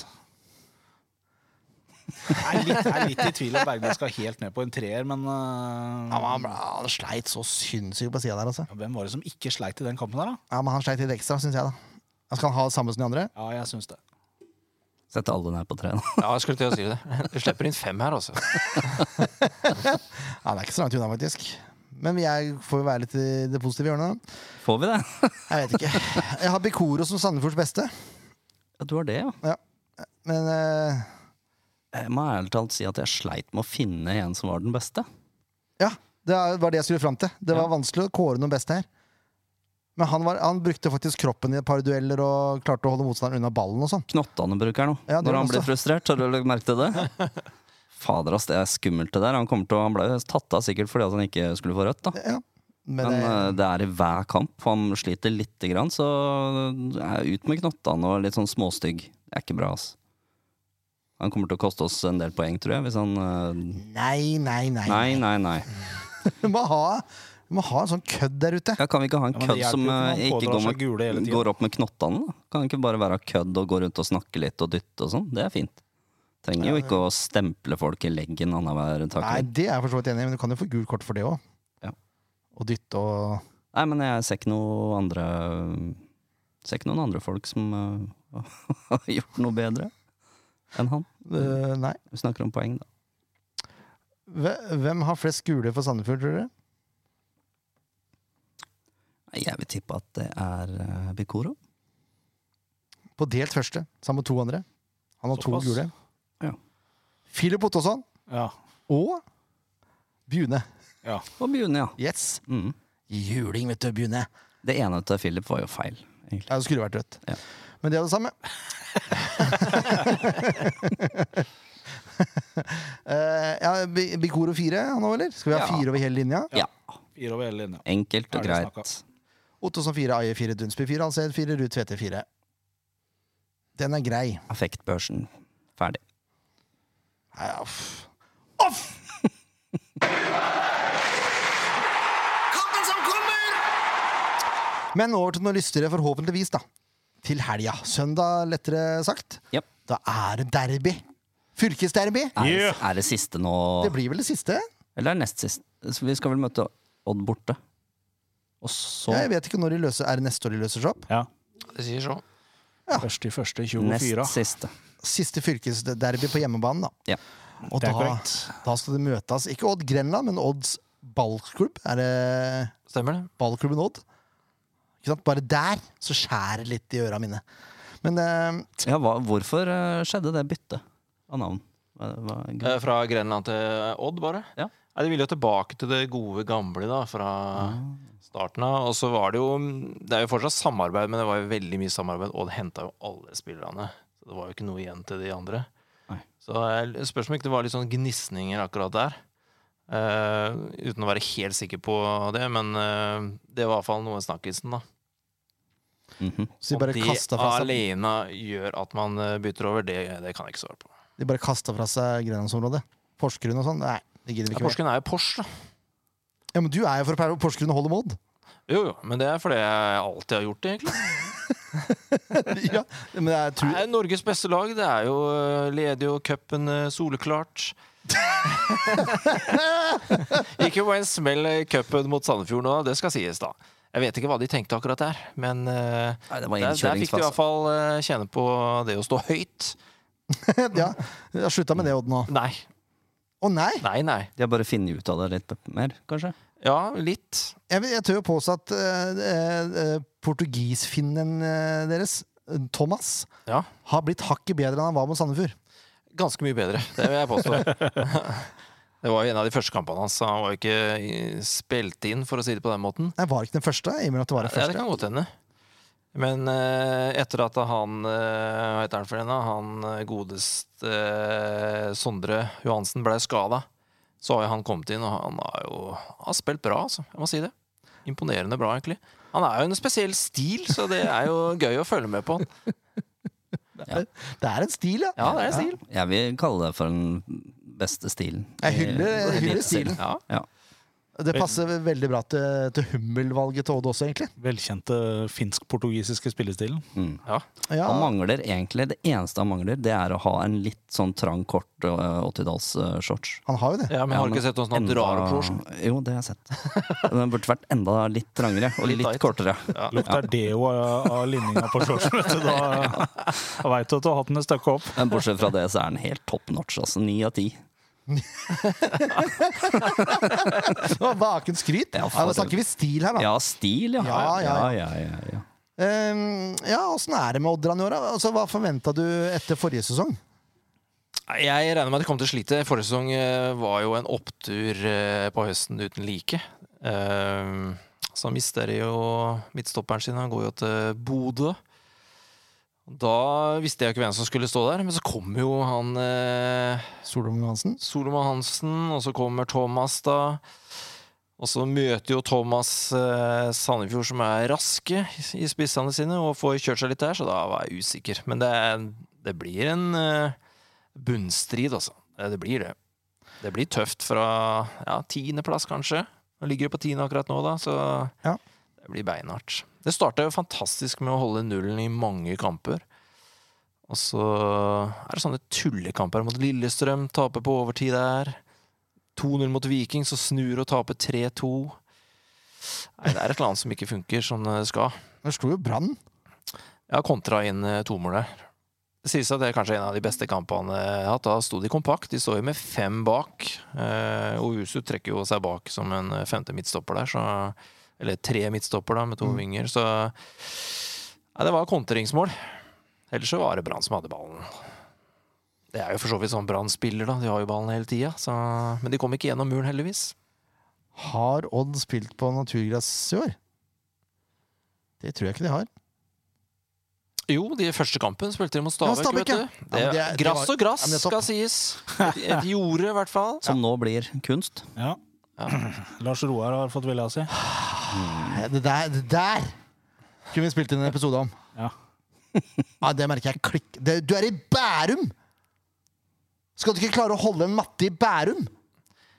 Speaker 3: Jeg er litt, jeg er litt i tvil om Bergman skal helt ned på en treer, men øh,
Speaker 1: Ja, men han, han sleit så sinnssykt på sida der, altså.
Speaker 3: Hvem var det som ikke sleit i den kampen der, da?
Speaker 1: Ja, Men han sleit litt ekstra, syns jeg, da. Han skal ha det samme som de andre.
Speaker 3: Ja, jeg syns det.
Speaker 4: Sette alle ned på tre nå.
Speaker 2: Ja, jeg skulle til å si det. Du slipper inn fem her, altså.
Speaker 1: Ja, Det er ikke så langt unna, faktisk. Men vi er, får jo være litt i det positive hjørnet. da.
Speaker 4: Får vi det?
Speaker 1: Jeg vet ikke. Jeg har Bekoro som Sandefjords beste,
Speaker 4: Ja, du har det, ja.
Speaker 1: men eh,
Speaker 4: Jeg må ærlig talt si at jeg sleit med å finne en som var den beste.
Speaker 1: ja, det er- var det jeg skulle fram til. Det var
Speaker 4: Ja.
Speaker 1: vanskelig å kåre noen beste her. Men han, var, han brukte faktisk kroppen i et par dueller og klarte å holde motstanderen unna ballen og sånn.
Speaker 4: Knottane bruker nå,
Speaker 1: Ja, det
Speaker 4: når
Speaker 1: var
Speaker 4: han
Speaker 1: også.
Speaker 4: blir frustrert. Har du lagt merke til det? Fader, ass, det er skummelt det der. Han, kommer til, å- han ble jo tatt av sikkert fordi at han ikke skulle få rødt, da.
Speaker 1: Ja. Men,
Speaker 4: Men
Speaker 1: eh,
Speaker 4: eh, det er i hver kamp. Han sliter lite grann, så eh, ut med knottene og litt sånn småstygg. Det er ikke bra, ass. Han kommer til å koste oss en del poeng, tror jeg, hvis han eh,
Speaker 1: nei, nei, nei.
Speaker 4: Nei, nei, nei.
Speaker 1: Du må ha, du må ha en sånn kødd der ute.
Speaker 4: Ja, kan vi ikke ha en
Speaker 3: Ja, men det
Speaker 4: kødd
Speaker 3: hjelper jo
Speaker 4: som
Speaker 3: ikke om han pådrar
Speaker 4: eh, ikke går,
Speaker 3: seg gule hele
Speaker 4: med,
Speaker 3: tiden.
Speaker 4: går opp med knottene? da? Kan han ikke bare være kødd og gå rundt og snakke litt og dytte og sånn? Det er fint. Trenger jo ikke å stemple folk i leggen annenhver
Speaker 1: Nei,
Speaker 4: takling. Nei.
Speaker 1: Det er jeg for så vidt enig i, men du kan jo få gult kort for det òg.
Speaker 4: Ja.
Speaker 1: Og dytte og
Speaker 4: Nei, men jeg ser ikke noe andre Ser ikke noen andre folk som eh, har gjort noe bedre enn han.
Speaker 1: Eh, Nei.
Speaker 4: Vi snakker om poeng, da.
Speaker 1: Hve- Hvem har flest gule for Sandefjord, tror dere?
Speaker 4: Nei, Jeg vil tippe at det er eh, Bikoro.
Speaker 1: På delt første, sammen med to andre. Han har to
Speaker 3: Såpass.
Speaker 1: gule.
Speaker 4: Ja.
Speaker 1: Filip Ottosson
Speaker 3: Ja.
Speaker 1: og Bjune.
Speaker 4: Og Bjune, ja.
Speaker 1: Yes.
Speaker 4: Mm.
Speaker 1: Juling, vet du, Bjune.
Speaker 4: Det ene til Philip var jo feil, egentlig.
Speaker 1: Ja, det skulle vært rødt.
Speaker 4: Ja.
Speaker 1: Men det er det samme. Eh, ja, Bi- Bikoro fire han òg, eller? Skal vi ha
Speaker 4: Ja.
Speaker 1: fire over hele linja?
Speaker 4: Ja.
Speaker 3: Fire over hele linja.
Speaker 4: Enkelt og
Speaker 3: Er det
Speaker 4: greit.
Speaker 1: Ottosson fire, Aje fire, Dunsby fire, Alsed fire, Ruud Tvete fire. Den er grei.
Speaker 4: Affektbørsen ferdig.
Speaker 1: Nei, ja, pff.
Speaker 5: Kampen som kommer!
Speaker 1: Men over til noe lystigere, forhåpentligvis, da. til helga. Søndag, lettere sagt.
Speaker 4: Japp.
Speaker 1: Da er det derby. Fylkesderby.
Speaker 4: Er, det-
Speaker 3: Yeah.
Speaker 4: er det siste nå?
Speaker 1: Det blir vel det siste?
Speaker 4: Eller er det nest sist? Så vi skal vel møte Odd borte. Og så
Speaker 1: Ja, jeg vet ikke når de løser Er det neste år de løser seg opp?
Speaker 3: Ja.
Speaker 2: Det sier så.
Speaker 3: Først i første
Speaker 4: nest
Speaker 3: 24.
Speaker 4: siste.
Speaker 1: Siste fylkesderby på hjemmebanen, da.
Speaker 4: Ja.
Speaker 1: Og
Speaker 3: Det er
Speaker 1: da,
Speaker 3: korrekt.
Speaker 1: da skal det møtes ikke Odd Grenland, men Odds ballklubb. Er det
Speaker 2: Stemmer det?
Speaker 1: ballklubben Odd? Ikke sant? Bare der så skjærer det litt i øra mine. Men eh,
Speaker 4: Ja, hva, hvorfor eh, skjedde det byttet av navn? Hva, hva,
Speaker 2: Eh, Fra Grenland til Odd, bare?
Speaker 4: Ja.
Speaker 2: Nei, de ville jo tilbake til det gode, gamle da, fra
Speaker 1: Eh,
Speaker 2: starten av. Og så var det jo Det er jo fortsatt samarbeid, men det var jo veldig mye samarbeid. Odd henta jo alle spillerne. Så det var jo ikke noe igjen til de andre.
Speaker 4: Nei.
Speaker 2: Så jeg spørs om ikke det var litt sånn gnisninger akkurat der. Eh, uten å være helt sikker på det, men eh, det var i hvert fall noe snakkisen, da.
Speaker 4: Mhm.
Speaker 1: så de
Speaker 2: Og
Speaker 1: bare
Speaker 2: det
Speaker 1: kasta fra seg
Speaker 2: alene gjør at man eh, bytter over, det, det kan jeg ikke svare på.
Speaker 1: De bare kasta fra seg Grenlandsområdet. Porsgrunn og sånn. Nei, det gidder vi
Speaker 2: Ja,
Speaker 1: ikke mer.
Speaker 2: Porsgrunn er jo Porsche, da.
Speaker 1: Ja, men du er jo fra Porsgrunn og holder mod.
Speaker 2: Jo, jo, men det er fordi jeg alltid har gjort det, egentlig.
Speaker 1: ja, men jeg tror
Speaker 2: Det er Norges beste lag. Det er jo eh, leder jo cupen eh, soleklart. Gikk jo på en smell i cupen mot Sandefjord nå, det skal sies, da. Jeg vet ikke hva de tenkte akkurat der, men eh,
Speaker 4: Nei, det var
Speaker 2: der, der fikk de i
Speaker 4: innkjøringsfase.
Speaker 2: hvert fall eh, kjenne på det å stå høyt.
Speaker 1: Ja, jeg har slutta med det, Odd, nå.
Speaker 2: Nei,
Speaker 1: Å nei!
Speaker 2: nei, nei.
Speaker 4: De har bare funnet ut av det litt mer, kanskje?
Speaker 2: Ja, litt.
Speaker 1: Jeg, vil- jeg tør jo påstå at eh, eh, portugisfinnen eh, deres, eh, Thomas,
Speaker 2: Ja,
Speaker 1: har blitt hakket bedre enn han var mot Sandefjord.
Speaker 2: ganske mye bedre, det vil jeg påstå. Det var jo en av de første kampene hans. så Han var jo ikke eh, spilt inn, for å si det på den måten.
Speaker 1: Jeg var ikke den første. i og med at det var den
Speaker 2: Ja, det
Speaker 1: første.
Speaker 2: kan godt hende. Men eh, etter at han eh, Hva heter han for en, da? Han eh, godest eh, Sondre Johansen ble skada, så har jo han kommet inn, og han har jo har spilt bra, altså. Jeg må si det. Imponerende bra, egentlig. Han er jo en spesiell stil, så det er jo gøy å følge med på. han.
Speaker 1: Det er en stil, ja.
Speaker 2: Ja, det er en stil.
Speaker 4: Jeg vil kalle det for den beste stilen.
Speaker 1: Jeg hyller, jeg hyller stilen.
Speaker 2: Ja.
Speaker 4: Ja.
Speaker 1: Det passer veldig bra til, til hummelvalget til Odd også, egentlig.
Speaker 3: Velkjente finsk-portugisiske spillestilen.
Speaker 2: Ja.
Speaker 1: Ja,
Speaker 4: Han mangler egentlig, Det eneste han mangler, det er å ha en litt sånn trang, kort 80-tallsshorts.
Speaker 1: han har jo det.
Speaker 2: ja, men har Sånn du ikke sett åssen han drar opp brorsen?
Speaker 4: Jo, det har jeg sett. Den burde vært enda litt trangere og
Speaker 2: Litt
Speaker 4: litt,
Speaker 2: tight.
Speaker 4: kortere.
Speaker 3: Lukter deo av, av linninga på shortsen, vet du. Da, da veit du at du har hatt den et stykke opp.
Speaker 4: Men bortsett fra det, så er den helt top notch. altså. Ni av ti.
Speaker 1: Det var Vaken skryt. Ja,
Speaker 4: Ja,
Speaker 1: da snakker vi stil her, da.
Speaker 4: Ja, stil, ja.
Speaker 1: Ja, ja,
Speaker 4: ja, ja, ja.
Speaker 1: Ehm, ja, Åssen er det med Odd Ranjora? Altså, hva forventa du etter forrige sesong?
Speaker 2: Nei, Jeg regner med at de kom til å slite. Forrige sesong eh, var jo en opptur eh, på høsten uten like. Ehm, Så mister de jo midtstopperen sin. Han går jo til Bodø. Da visste jeg jo ikke hvem som skulle stå der, men så kom jo han eh,
Speaker 1: Solom Johansen?
Speaker 2: Solomon Hansen, og så kommer Thomas, da. Og så møter jo Thomas eh, Sandefjord, som er raske i spissene sine, og får kjørt seg litt der, så da var jeg usikker. Men det, er, det blir en eh, bunnstrid, altså. Eh, Det blir det. Det blir tøft fra ja, tiendeplass, kanskje. Nå ligger det på tiende akkurat nå, da, så
Speaker 1: Ja.
Speaker 2: det blir beinhardt. Det starta jo fantastisk med å holde nullen i mange kamper. Og så er det sånne tullekamper mot Lillestrøm, taper på overtid der. 2-0 mot Viking, så snur og taper 3-2. Nei, det er et eller annet som ikke funker som det skal.
Speaker 1: Der slo jo Brann.
Speaker 2: Jeg har kontra inn eh, to mål der. Det sies at det er kanskje en av de beste kampene jeg har hatt. Da sto de kompakt. De står jo med fem bak. Eh, Ousu trekker jo seg bak som en eh, femte midtstopper der, så Eller tre midtstopper, da, med
Speaker 1: Mm.
Speaker 2: to vinger, så Nei, det var kontringsmål. Ellers så var det Brann som hadde ballen. Det er jo for så vidt sånn Brann spiller, da. De har jo ballen hele tida. Så... Men de kom ikke gjennom muren, heldigvis.
Speaker 1: Har Odd spilt på naturgress i år? Det tror jeg ikke de har.
Speaker 2: Jo, de første kampen spilte de mot Stabæk.
Speaker 1: Ja, Stabæk,
Speaker 2: vet
Speaker 1: ja.
Speaker 2: du.
Speaker 1: Ja,
Speaker 2: Det,
Speaker 1: men det
Speaker 2: er
Speaker 1: er-
Speaker 2: grass
Speaker 1: det var-
Speaker 2: og grass
Speaker 1: Ja, men det er topp.
Speaker 2: skal sies. Et, et jorde, i hvert fall.
Speaker 4: Som nå blir kunst.
Speaker 3: Ja. Lars Roar har fått vilja si.
Speaker 1: Nei, Det der, det der kunne vi spilt inn en episode om.
Speaker 3: Ja.
Speaker 1: Ja, det merker jeg klikk. Det, du er i Bærum! Skal du ikke klare å holde en matte i Bærum?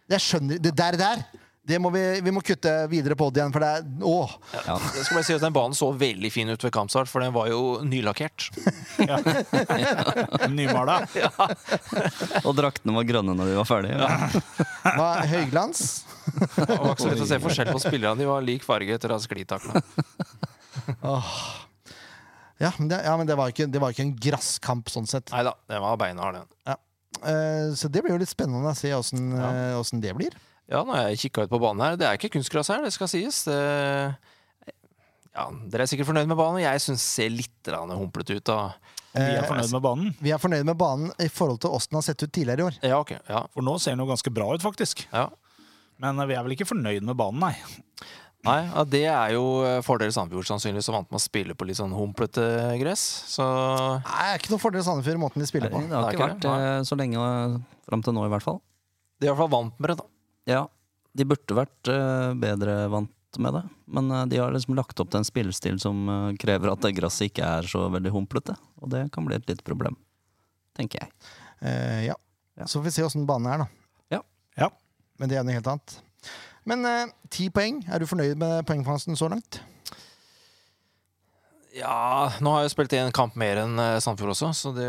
Speaker 1: Jeg skjønner Det der, der. Det må vi, vi må kutte videre på det igjen, for det er Åh!
Speaker 4: Ja.
Speaker 2: Jeg skal bare si at Den banen så veldig fin ut ved kampstart, for den var jo nylakkert.
Speaker 3: Ja. Nymala.
Speaker 4: Og draktene var grønne når vi var ferdige.
Speaker 1: Hva er høyglans?
Speaker 2: Det var ikke så lett å se forskjell på spillerne. De var lik farge etter at sklitakene.
Speaker 1: Ja, men det, ja, men det var ikke, det var ikke en grasskamp sånn sett.
Speaker 2: Nei da, den var beinhard, den.
Speaker 1: Eh, så det blir jo litt spennende å se åssen det blir.
Speaker 2: Ja, nå har jeg kikka ut på banen her. Det er ikke kunstgras her, det skal sies. Det... Ja, dere er sikkert fornøyd med banen. Jeg syns ser litt grann humplete ut. Da.
Speaker 3: Vi er fornøyd med banen.
Speaker 1: Vi er fornøyd med banen i forhold til åssen den har sett ut tidligere i år.
Speaker 2: Ja, ok. Ja,
Speaker 3: For nå ser den jo ganske bra ut, faktisk.
Speaker 2: ja.
Speaker 3: Men eh, vi er vel ikke fornøyd med banen, nei.
Speaker 2: Nei, ja, det er jo eh, fordel Sandefjord, sannsynligvis, som vant med å spille på litt sånn humplete gress. Så
Speaker 1: Nei, det er ikke noen fordel Sandefjord måten de spiller på.
Speaker 4: Det
Speaker 2: Det
Speaker 4: har
Speaker 2: er
Speaker 4: ikke
Speaker 2: ikke
Speaker 4: vært
Speaker 2: det,
Speaker 4: eh, så lenge eh, fram til nå, i hvert fall.
Speaker 2: de er i hvert fall vant med det, da.
Speaker 4: Ja, de burde vært eh, bedre vant med det. Men eh, de har liksom lagt opp til en spillestil som eh, krever at det gresset ikke er så veldig humplete. Og det kan bli et lite problem, tenker jeg.
Speaker 1: Eh, ja.
Speaker 4: Ja.
Speaker 1: Så får vi se åssen banen er, da.
Speaker 3: Ja.
Speaker 1: Men det er noe helt annet. Men eh, ti poeng. Er du fornøyd med poengfangsten så langt?
Speaker 2: Ja, nå har jeg jo spilt én kamp mer enn eh, Sandefjord også, så det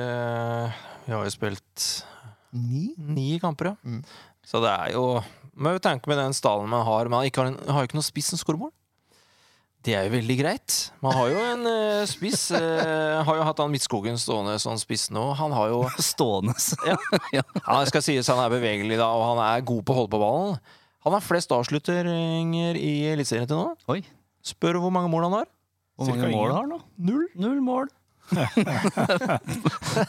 Speaker 2: Vi har jo spilt
Speaker 1: Ni?
Speaker 2: ni kamper, ja.
Speaker 1: Mm.
Speaker 2: Så det er jo Må jo tenke med den stallen man har. Man ikke har, en, har jo ikke noen spiss som skårer mål. Det er jo veldig greit. Man har jo en eh, spiss. eh, har jo hatt han Midtskogen stående som spiss nå. Han har jo
Speaker 4: Stående. så-
Speaker 2: ja,
Speaker 4: Ja.
Speaker 2: Han skal sies han er bevegelig da, og han er god på å holde på ballen. Han har flest avslutteringer i Eliteserien til nå.
Speaker 4: Oi,
Speaker 2: Spør hvor mange mål han har.
Speaker 4: hvor
Speaker 3: Cirka
Speaker 4: mange
Speaker 3: ingen.
Speaker 4: mål har han nå?
Speaker 2: Null.
Speaker 4: Null mål.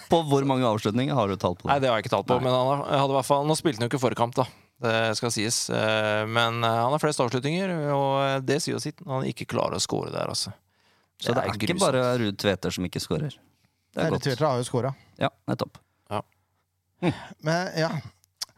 Speaker 4: på hvor mange avslutninger har du tall på?
Speaker 2: Nei,
Speaker 4: Det?
Speaker 2: det har jeg ikke talt på, men han har- hadde i hvert fall Nå spilte han jo ikke forrige kamp, da. Det skal sies. Eh, Men eh, han har flest avslutninger, og eh, det sier jo sitt når han ikke klarer å score der, altså. Så det er,
Speaker 4: ikke
Speaker 2: grusomt.
Speaker 4: bare Ruud Tveter som ikke skårer. Det er
Speaker 1: Eller
Speaker 4: godt.
Speaker 1: Tvetra har jo scora.
Speaker 4: Ja, nettopp.
Speaker 1: Men ja.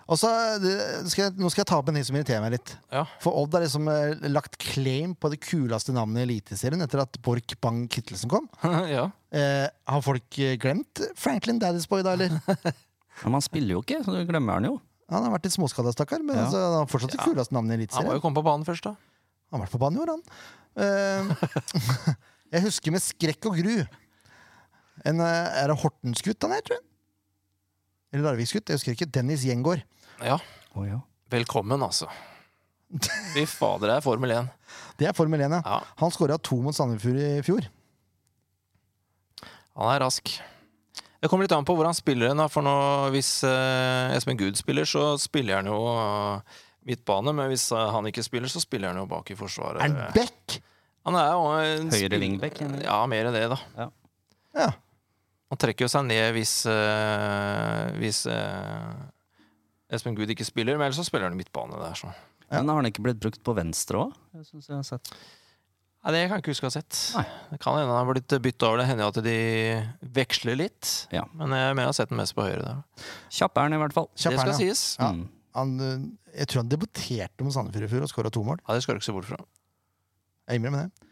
Speaker 1: Og så det- skal jeg, Nå skal jeg ta opp en ting som irriterer meg litt.
Speaker 2: Ja.
Speaker 1: For Odd har liksom eh, lagt claim på det kuleste navnet i Eliteserien etter at Borch Bang Kittelsen kom.
Speaker 2: ja.
Speaker 1: Eh, har folk eh, glemt Franklin Daddy's Boy da, eller?
Speaker 4: Men han spiller jo ikke, så du glemmer han jo.
Speaker 1: Han har vært litt småskada, stakkar, men
Speaker 4: Ja.
Speaker 1: altså, han har fortsatt det kuleste navnet i
Speaker 2: Han må
Speaker 1: Eliteserien.
Speaker 2: jo komme på banen først, da.
Speaker 1: Han har vært på banen i år, han. Eh, jeg husker med skrekk og gru en, eh, Er det Hortensgutt han er, tror jeg? Eller Larviksgutt? Jeg husker ikke. Dennis Gjengård.
Speaker 2: Ja.
Speaker 4: Oh, ja.
Speaker 2: Velkommen, altså. Fy fader, det er Formel 1.
Speaker 1: Det er Formel 1, ja.
Speaker 2: Ja.
Speaker 1: Han skåra to mot Sandefjord i fjor.
Speaker 2: Han er rask. Det kommer litt an på hvor han spiller hen. da, For nå, hvis eh, Espen Gud spiller, så spiller han jo eh, midtbane. Men hvis eh, han ikke spiller, så spiller han jo bak i forsvaret.
Speaker 1: Er han back?
Speaker 2: Han er jo en
Speaker 4: Høyre
Speaker 2: spill-
Speaker 4: wingback, eller?
Speaker 2: Ja, mer enn det, da.
Speaker 1: Ja.
Speaker 2: Han trekker jo seg ned hvis, eh, hvis eh, Espen Gud ikke spiller, men ellers så spiller han i midtbane der, så.
Speaker 4: Men har han ikke blitt brukt på venstre òg? Jeg synes jeg har sett
Speaker 2: Nei, det kan jeg ikke huske å ha sett.
Speaker 4: Nei.
Speaker 2: Det kan hende han har blitt bytta over. Det hender jo at de veksler litt.
Speaker 4: Ja.
Speaker 2: Men jeg mener jeg har sett den mest på høyre der.
Speaker 4: Kjapp er han i hvert fall.
Speaker 1: Kjapp
Speaker 2: det
Speaker 1: er
Speaker 2: skal
Speaker 1: han, ja.
Speaker 2: sies.
Speaker 1: Ja.
Speaker 4: Mm.
Speaker 1: Han, eh, jeg tror han debuterte mot Sandefjord i fjor og skåra to mål.
Speaker 2: Ja, det skal du ikke se bort fra.
Speaker 1: Jeg innrømmer det.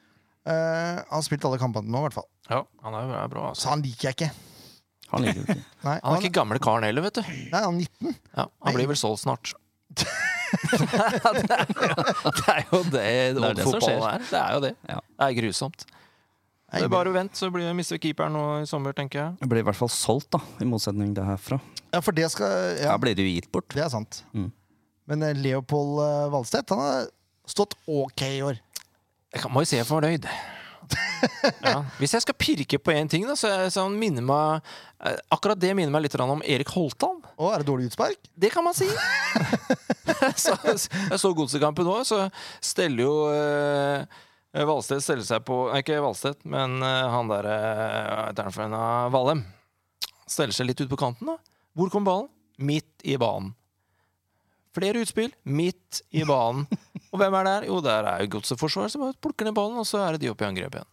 Speaker 1: Eh, han har spilt alle kampene nå, i hvert fall.
Speaker 2: Ja, han er er bra, altså.
Speaker 1: Så han liker jeg ikke.
Speaker 4: Han liker det ikke.
Speaker 1: Nei,
Speaker 2: Han er ikke gamle karen heller, vet du.
Speaker 1: nei, han er 19.
Speaker 2: Ja, han blir vel solgt snart. det er jo det
Speaker 4: er
Speaker 2: old
Speaker 4: det som
Speaker 2: fotballen
Speaker 4: skjer.
Speaker 2: er. Det er jo det.
Speaker 4: Ja.
Speaker 2: Det er grusomt.
Speaker 1: Jeg
Speaker 2: Det
Speaker 1: innrømmer
Speaker 2: er bare å vente, så blir, mister vi keeperen nå i sommer, tenker jeg.
Speaker 4: Det blir i hvert fall solgt, da, i motsetning til herfra.
Speaker 1: Ja, for det skal ja,
Speaker 4: Her blir det jo gitt bort.
Speaker 1: Det er sant.
Speaker 4: Mm.
Speaker 1: Men eh, Leopold eh, Valstedt han har stått ok i år.
Speaker 2: Jeg kan- må jo se jeg er fornøyd. Ja. Hvis jeg skal pirke på én ting, da, så, er- så han minner meg eh, Akkurat det minner meg litt grann om Erik Holtan.
Speaker 1: Å, er det dårlig utspark?
Speaker 2: Det kan man si. så, jeg så Godsekampen òg, så steller jo eh, Valstedt steller seg på Nei, ikke Valstedt, men eh, han derre uh, Valem. Steller seg litt ut på kanten, da. Hvor kom ballen? Midt i banen. Flere utspill midt i banen. Og hvem er der? Jo, der er jo godseforsvaret som bare plukker ned ballen, og så er det de oppe i angrep igjen.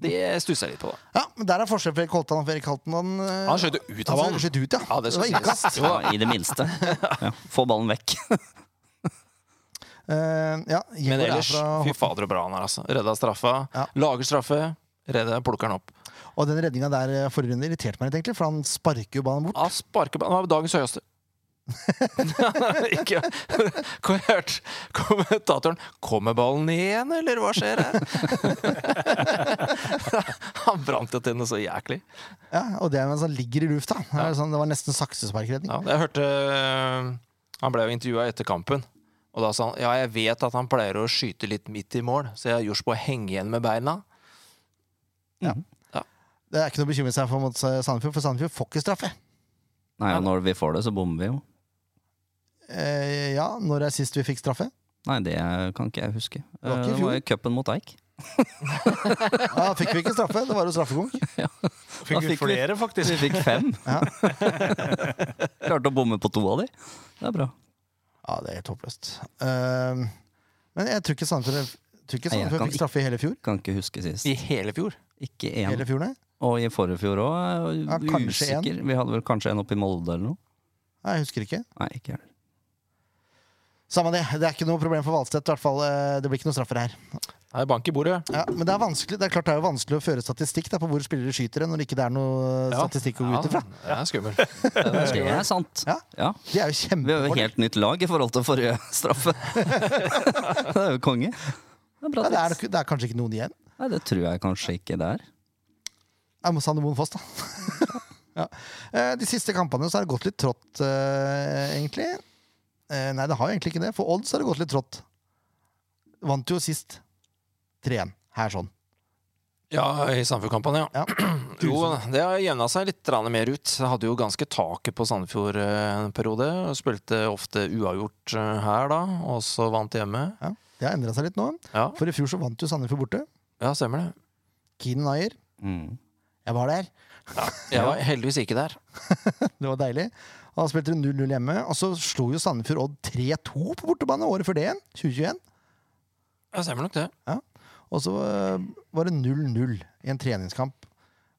Speaker 2: Det stusser jeg litt på, da.
Speaker 1: Ja, men Der er forskjell fra Erik Holtan og Erik Halten. Han, eh,
Speaker 2: Han skjøt jo ut av
Speaker 1: Han
Speaker 2: banen.
Speaker 1: skjøt ut, ja.
Speaker 2: Ja, det
Speaker 1: var
Speaker 2: skal
Speaker 1: innkast.
Speaker 2: sies. Jo da.
Speaker 4: I det minste. Ja. Få ballen vekk.
Speaker 1: Eh, ja,
Speaker 2: Men
Speaker 1: Gjengård er
Speaker 2: ellers,
Speaker 1: fra-
Speaker 2: fy fader så bra han er, altså. Redda straffa.
Speaker 1: Ja.
Speaker 2: Lager straffe. Redder, plukker han opp.
Speaker 1: Og
Speaker 2: Ah,
Speaker 1: den redninga der eh, forrige runde irriterte meg litt, egentlig, for han sparker jo ballen bort.
Speaker 2: Ja, sparker, han var dagens høyeste. ikke Kom, jeg hørte kommentatoren 'Kommer ballen igjen, eller hva skjer her?' Han brant jo tennene så jæklig.
Speaker 1: Ja, og det er mens han ligger i lufta. Det, er sånn, det var nesten saksesparkredning.
Speaker 2: Ja, jeg hørte øh, Han ble jo intervjua etter kampen. Og da sa han ja, jeg vet at han pleier å skyte litt midt i mål, så jeg har gjort på å henge igjen med beina.
Speaker 1: Det er ikke noe å bekymre seg for mot eh, Sandefjord, for Sandefjord får ikke straffe.
Speaker 4: Nei, og når vi får det, så bommer vi jo.
Speaker 1: Eh, ja, når er sist vi fikk straffe?
Speaker 4: Nei, det kan ikke jeg huske.
Speaker 1: var ikke i
Speaker 4: Eh, Det var i cupen mot Eik.
Speaker 1: Ja, fikk vi ikke straffe? Det var jo straffekonk.
Speaker 4: Da
Speaker 3: Fikk vi
Speaker 4: fikk vi-
Speaker 3: flere, faktisk.
Speaker 4: Vi fikk fem.
Speaker 1: Ja.
Speaker 4: Klarte å bomme på to av de. Det er bra.
Speaker 1: Ja, det er helt håpløst. Eh, men jeg tror ikke Sandefjord, tror ikke
Speaker 4: Nei, jeg
Speaker 1: Sandefjord
Speaker 4: kan
Speaker 1: fikk straffe i hele fjor.
Speaker 4: Kan ikke huske sist.
Speaker 2: I hele fjor.
Speaker 4: Ikke én.
Speaker 1: Hele fjor, nei.
Speaker 4: Og i forrige fjor òg.
Speaker 1: Ja, kanskje en.
Speaker 4: usikker. Vi hadde vel kanskje en oppe i Molde eller noe.
Speaker 1: Nei, Jeg husker ikke.
Speaker 4: Nei, ikke heller.
Speaker 1: Samme det. Det er ikke noe problem for Valstedt. i hvert fall. Eh, Det blir ikke noe straffer her.
Speaker 2: Det er bank i bordet.
Speaker 1: Ja, men det er vanskelig Det er klart det er jo vanskelig å føre statistikk da, på hvor spillere skyter hen, når det ikke er noe statistikk å gå ut ifra.
Speaker 2: det er skummel. Den er
Speaker 4: Det
Speaker 2: skummel.
Speaker 4: er sant.
Speaker 1: Ja.
Speaker 4: Ja.
Speaker 1: Det er jo
Speaker 4: Vi har jo
Speaker 1: kjempefordel.
Speaker 4: helt nytt lag i forhold til forrige straffe. det er jo konge. Det er bra
Speaker 1: Ja, det, er
Speaker 4: tips.
Speaker 1: nok- det er kanskje ikke noen igjen.
Speaker 4: Nei, det tror jeg kanskje ikke det er.
Speaker 1: Jeg må Sander Moen Foss, da. ja. Eh, De siste kampene så har det gått litt trått, eh, egentlig. Eh, Nei, det har jo egentlig ikke det. For Odd så har det gått litt trått. Vant jo sist 3-1. Her sånn.
Speaker 2: Ja, i Sandefjord-kampen, ja.
Speaker 1: Ja.
Speaker 2: Jo, det har jevna seg litt grann mer ut. Jeg hadde jo ganske taket på Sandefjord eh, en periode. og Spilte ofte uavgjort eh, her, da, og så vant hjemme.
Speaker 1: Ja. Det har endra seg litt nå.
Speaker 2: Ja,
Speaker 1: For i fjor så vant jo Sandefjord borte.
Speaker 2: ja stemmer det.
Speaker 1: Keenan Ayer.
Speaker 4: Mm.
Speaker 1: Jeg var der.
Speaker 2: Jeg var heldigvis ikke der.
Speaker 1: Det var deilig. Og Da spilte de 0-0 hjemme, og så slo jo Sandefjord Odd 3-2 på bortebane året før det igjen, 2021.
Speaker 2: Ja, stemmer nok det.
Speaker 1: Og så eh, var det 0-0 i en treningskamp,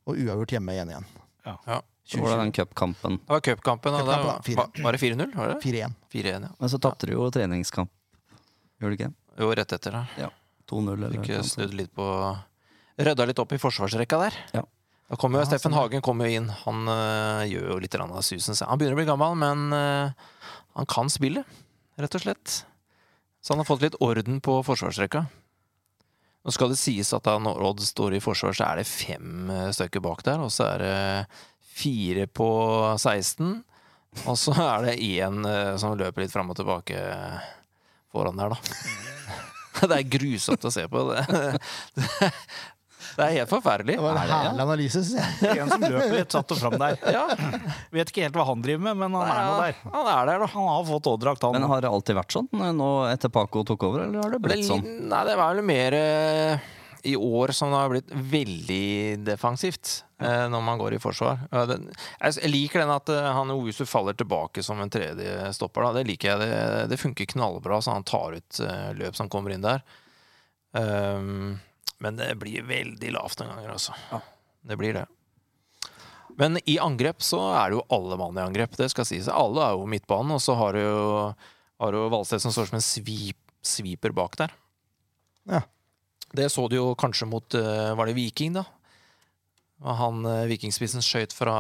Speaker 1: og uavgjort hjemme igjen igjen.
Speaker 2: Ja.
Speaker 4: Så var det den cupkampen.
Speaker 2: Det var cupkampen, og da
Speaker 1: Cupkampen, da.
Speaker 2: var, var det 4-0? Var det?
Speaker 1: 4-1.
Speaker 2: 4-1, ja.
Speaker 4: Men så tapte du jo treningskamp. Gjorde du ikke?
Speaker 2: Jo, rett etter der.
Speaker 4: 2-0 eller
Speaker 2: Fikk
Speaker 4: noe
Speaker 2: eh,
Speaker 4: sånt.
Speaker 2: snudd litt på Rydda litt opp i forsvarsrekka der.
Speaker 4: Ja.
Speaker 2: Da kom jo
Speaker 1: Ja,
Speaker 2: Steffen
Speaker 1: stemmer.
Speaker 2: Hagen kom jo inn. Han eh, gjør jo litt grann av susen. selv. Han begynner å bli gammel, men eh, han kan spille, rett og slett. Så han har fått litt orden på forsvarsrekka. Nå skal det sies at da når Odd står i forsvar, så er det fem eh, stykker bak der. Og så er det fire på 16. Og så er det én eh, som løper litt fram og tilbake foran der, da. Det er grusomt å se på. Det, det, det er helt forferdelig.
Speaker 1: Det var en
Speaker 4: Er det, ja?
Speaker 1: herlig analyse, syns jeg.
Speaker 3: En som løper litt satt og fram der.
Speaker 2: Ja,
Speaker 3: Vet ikke helt hva han driver med, men han er nå der.
Speaker 2: han er der, da.
Speaker 3: Han har fått ådrakt, han.
Speaker 4: Men har det alltid vært sånn eh, nå etter Paco tok over, eller har det
Speaker 2: Det,
Speaker 4: blitt sånn?
Speaker 2: nei, det var vel mer eh, i år som det har blitt veldig defensivt eh, når man går i forsvar. Ja, den- Jeg s- jeg liker den at eh, han Owusu faller tilbake som en tredje stopper. Da. Det liker jeg. Det, det funker knallbra, så han tar ut eh, løp som kommer inn der. Ehm, men det blir veldig lavt noen ganger, altså. Det blir det. Men i angrep så er det jo alle mann i angrep. Det skal sies. Alle er jo midtbanen, og så har du jo, har du jo Valstedt som står som en svip, sviper bak der.
Speaker 1: Ja.
Speaker 2: Det så du jo kanskje mot eh, Var det Viking, da? Og Han eh, vikingspissen skøyt fra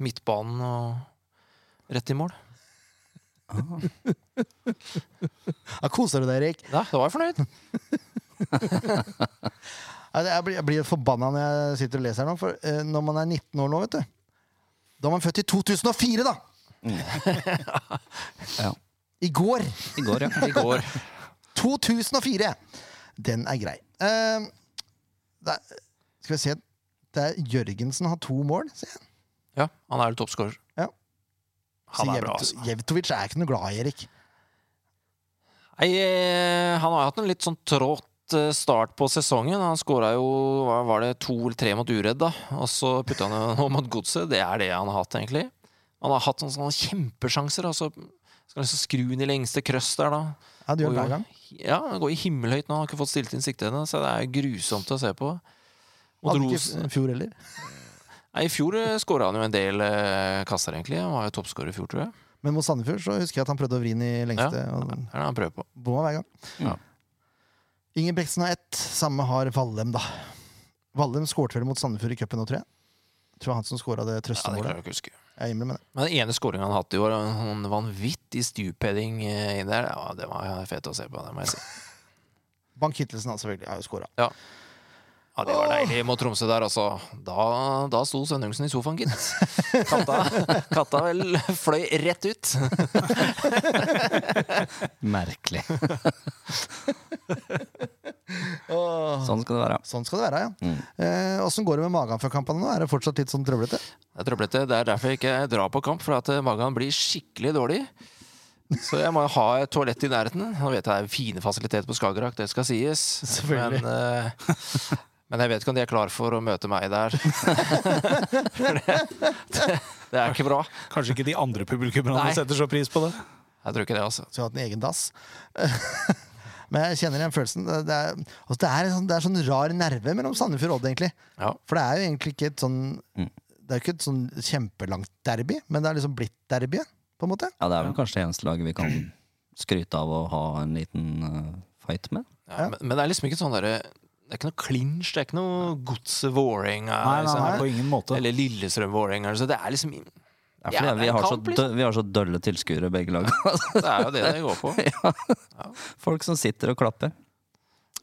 Speaker 2: midtbanen og rett i mål.
Speaker 1: Ja, koser du deg, Erik?
Speaker 2: Ja, da var jeg fornøyd.
Speaker 1: Nei, det- Jeg blir, jeg blir forbanna når jeg sitter og leser her nå, for eh, når man er 19 år nå, vet du Da er man født i 2004, da!
Speaker 2: Mm.
Speaker 4: Ja.
Speaker 1: I går!
Speaker 4: I går, ja.
Speaker 2: I går.
Speaker 1: 2004! Den er grei. Eh, det er, skal vi se det er Jørgensen har to mål, ser jeg.
Speaker 2: Ja, han er jo toppscorer.
Speaker 1: Ja.
Speaker 2: Han
Speaker 1: Så
Speaker 2: er bra,
Speaker 1: Jevto-
Speaker 2: altså.
Speaker 1: Jevtovic er jeg ikke noe glad i, Erik.
Speaker 2: Nei, eh, han har hatt en litt sånn trått eh, start på sesongen. Han skåra jo hva var det, to eller tre mot Uredd, da. Og så putta han jo noe mot Godset. Det er det han har hatt, egentlig. Han har hatt sånne, sånne kjempesjanser. Altså, skal liksom skru inn i lengste krøss der, da.
Speaker 1: Ja, du gjør det
Speaker 2: Og
Speaker 1: hver gang.
Speaker 2: jo- Ja, han går i himmelhøyt nå. Han har ikke fått stilt inn siktene, så det er grusomt å se på. Mot
Speaker 1: Hadde ikke
Speaker 2: Ros
Speaker 1: f- fjor heller.
Speaker 2: Nei, I fjor skåra han jo en del eh, kasser, egentlig. Han var jo toppskårer i fjor, tror jeg.
Speaker 1: Men mot Sandefjord så husker jeg at han prøvde å vri den i lengste. Og
Speaker 2: Det er det han prøver på.
Speaker 1: Bomma hver gang.
Speaker 4: Ja.
Speaker 1: Ingebrigtsen har ett. Samme har Vallem, da. Vallem skårte vel mot Sandefjord i cupen nå, tror jeg. Tror jeg han som skåra det
Speaker 2: Ja, det klarer
Speaker 1: trøstemålet.
Speaker 2: jeg ikke å huske.
Speaker 1: Jeg innrømmer det.
Speaker 2: Men den ene scoringen han hadde i år, en vanvittig stupheading eh, inn der, ja, det var fett å se på. det må jeg si.
Speaker 1: Bank Kittelsen har selvfølgelig har jo skåra.
Speaker 2: Ja. ja, det var deilig mot Tromsø der, altså. Da, da sto Sønnungsen i sofaen, gitt. Katta, katta vel fløy rett ut.
Speaker 4: Merkelig.
Speaker 1: Åh.
Speaker 4: Sånn skal det være.
Speaker 1: Sånn skal det være, ja.
Speaker 2: Mm.
Speaker 1: Eh, Åssen går det med magen før kampene nå? Er det fortsatt litt sånn trøblete?
Speaker 2: Det er trøblete. Det er derfor jeg ikke drar på kamp, for at eh, magen blir skikkelig dårlig. Så jeg må jo ha et toalett i nærheten. Nå vet jeg det er fine fasiliteter på Skagerrak, det skal sies.
Speaker 1: Selvfølgelig.
Speaker 2: Men, eh, men jeg vet ikke om de er klar for å møte meg der. For det, det, det er ikke bra.
Speaker 3: Kanskje ikke de andre publikummerne
Speaker 2: Nei.
Speaker 3: setter så pris på det.
Speaker 2: Jeg tror ikke det, altså.
Speaker 1: Skulle hatt en egen dass. Men jeg kjenner igjen følelsen. Det er, altså det, er en sånn, det er sånn rar nerve mellom Sandefjord og Odd, egentlig.
Speaker 2: Ja. Mm.
Speaker 1: For det er jo egentlig ikke et sånn Det er jo ikke et sånn kjempelangt derby, men det er liksom blitt derby, på en måte.
Speaker 4: Ja, det er vel kanskje det eneste laget vi kan skryte av å ha en liten eh, fight med.
Speaker 2: Ja, men, men det er liksom ikke sånn derre Det er ikke noe clinch, det er ikke noe godset Vålerenga.
Speaker 3: Nei, nei, nei,
Speaker 2: Liksom,
Speaker 3: på ingen måte.
Speaker 2: eller Lillestrøm Vålerenga. Så det er liksom
Speaker 4: Det er
Speaker 2: Ja,
Speaker 4: fordi
Speaker 2: det er
Speaker 4: vi,
Speaker 2: en
Speaker 4: har så
Speaker 2: kamp,
Speaker 4: dø
Speaker 2: liksom.
Speaker 4: vi har så dølle tilskuere, begge lag.
Speaker 2: Det er jo det det går på.
Speaker 4: Folk som sitter og klapper.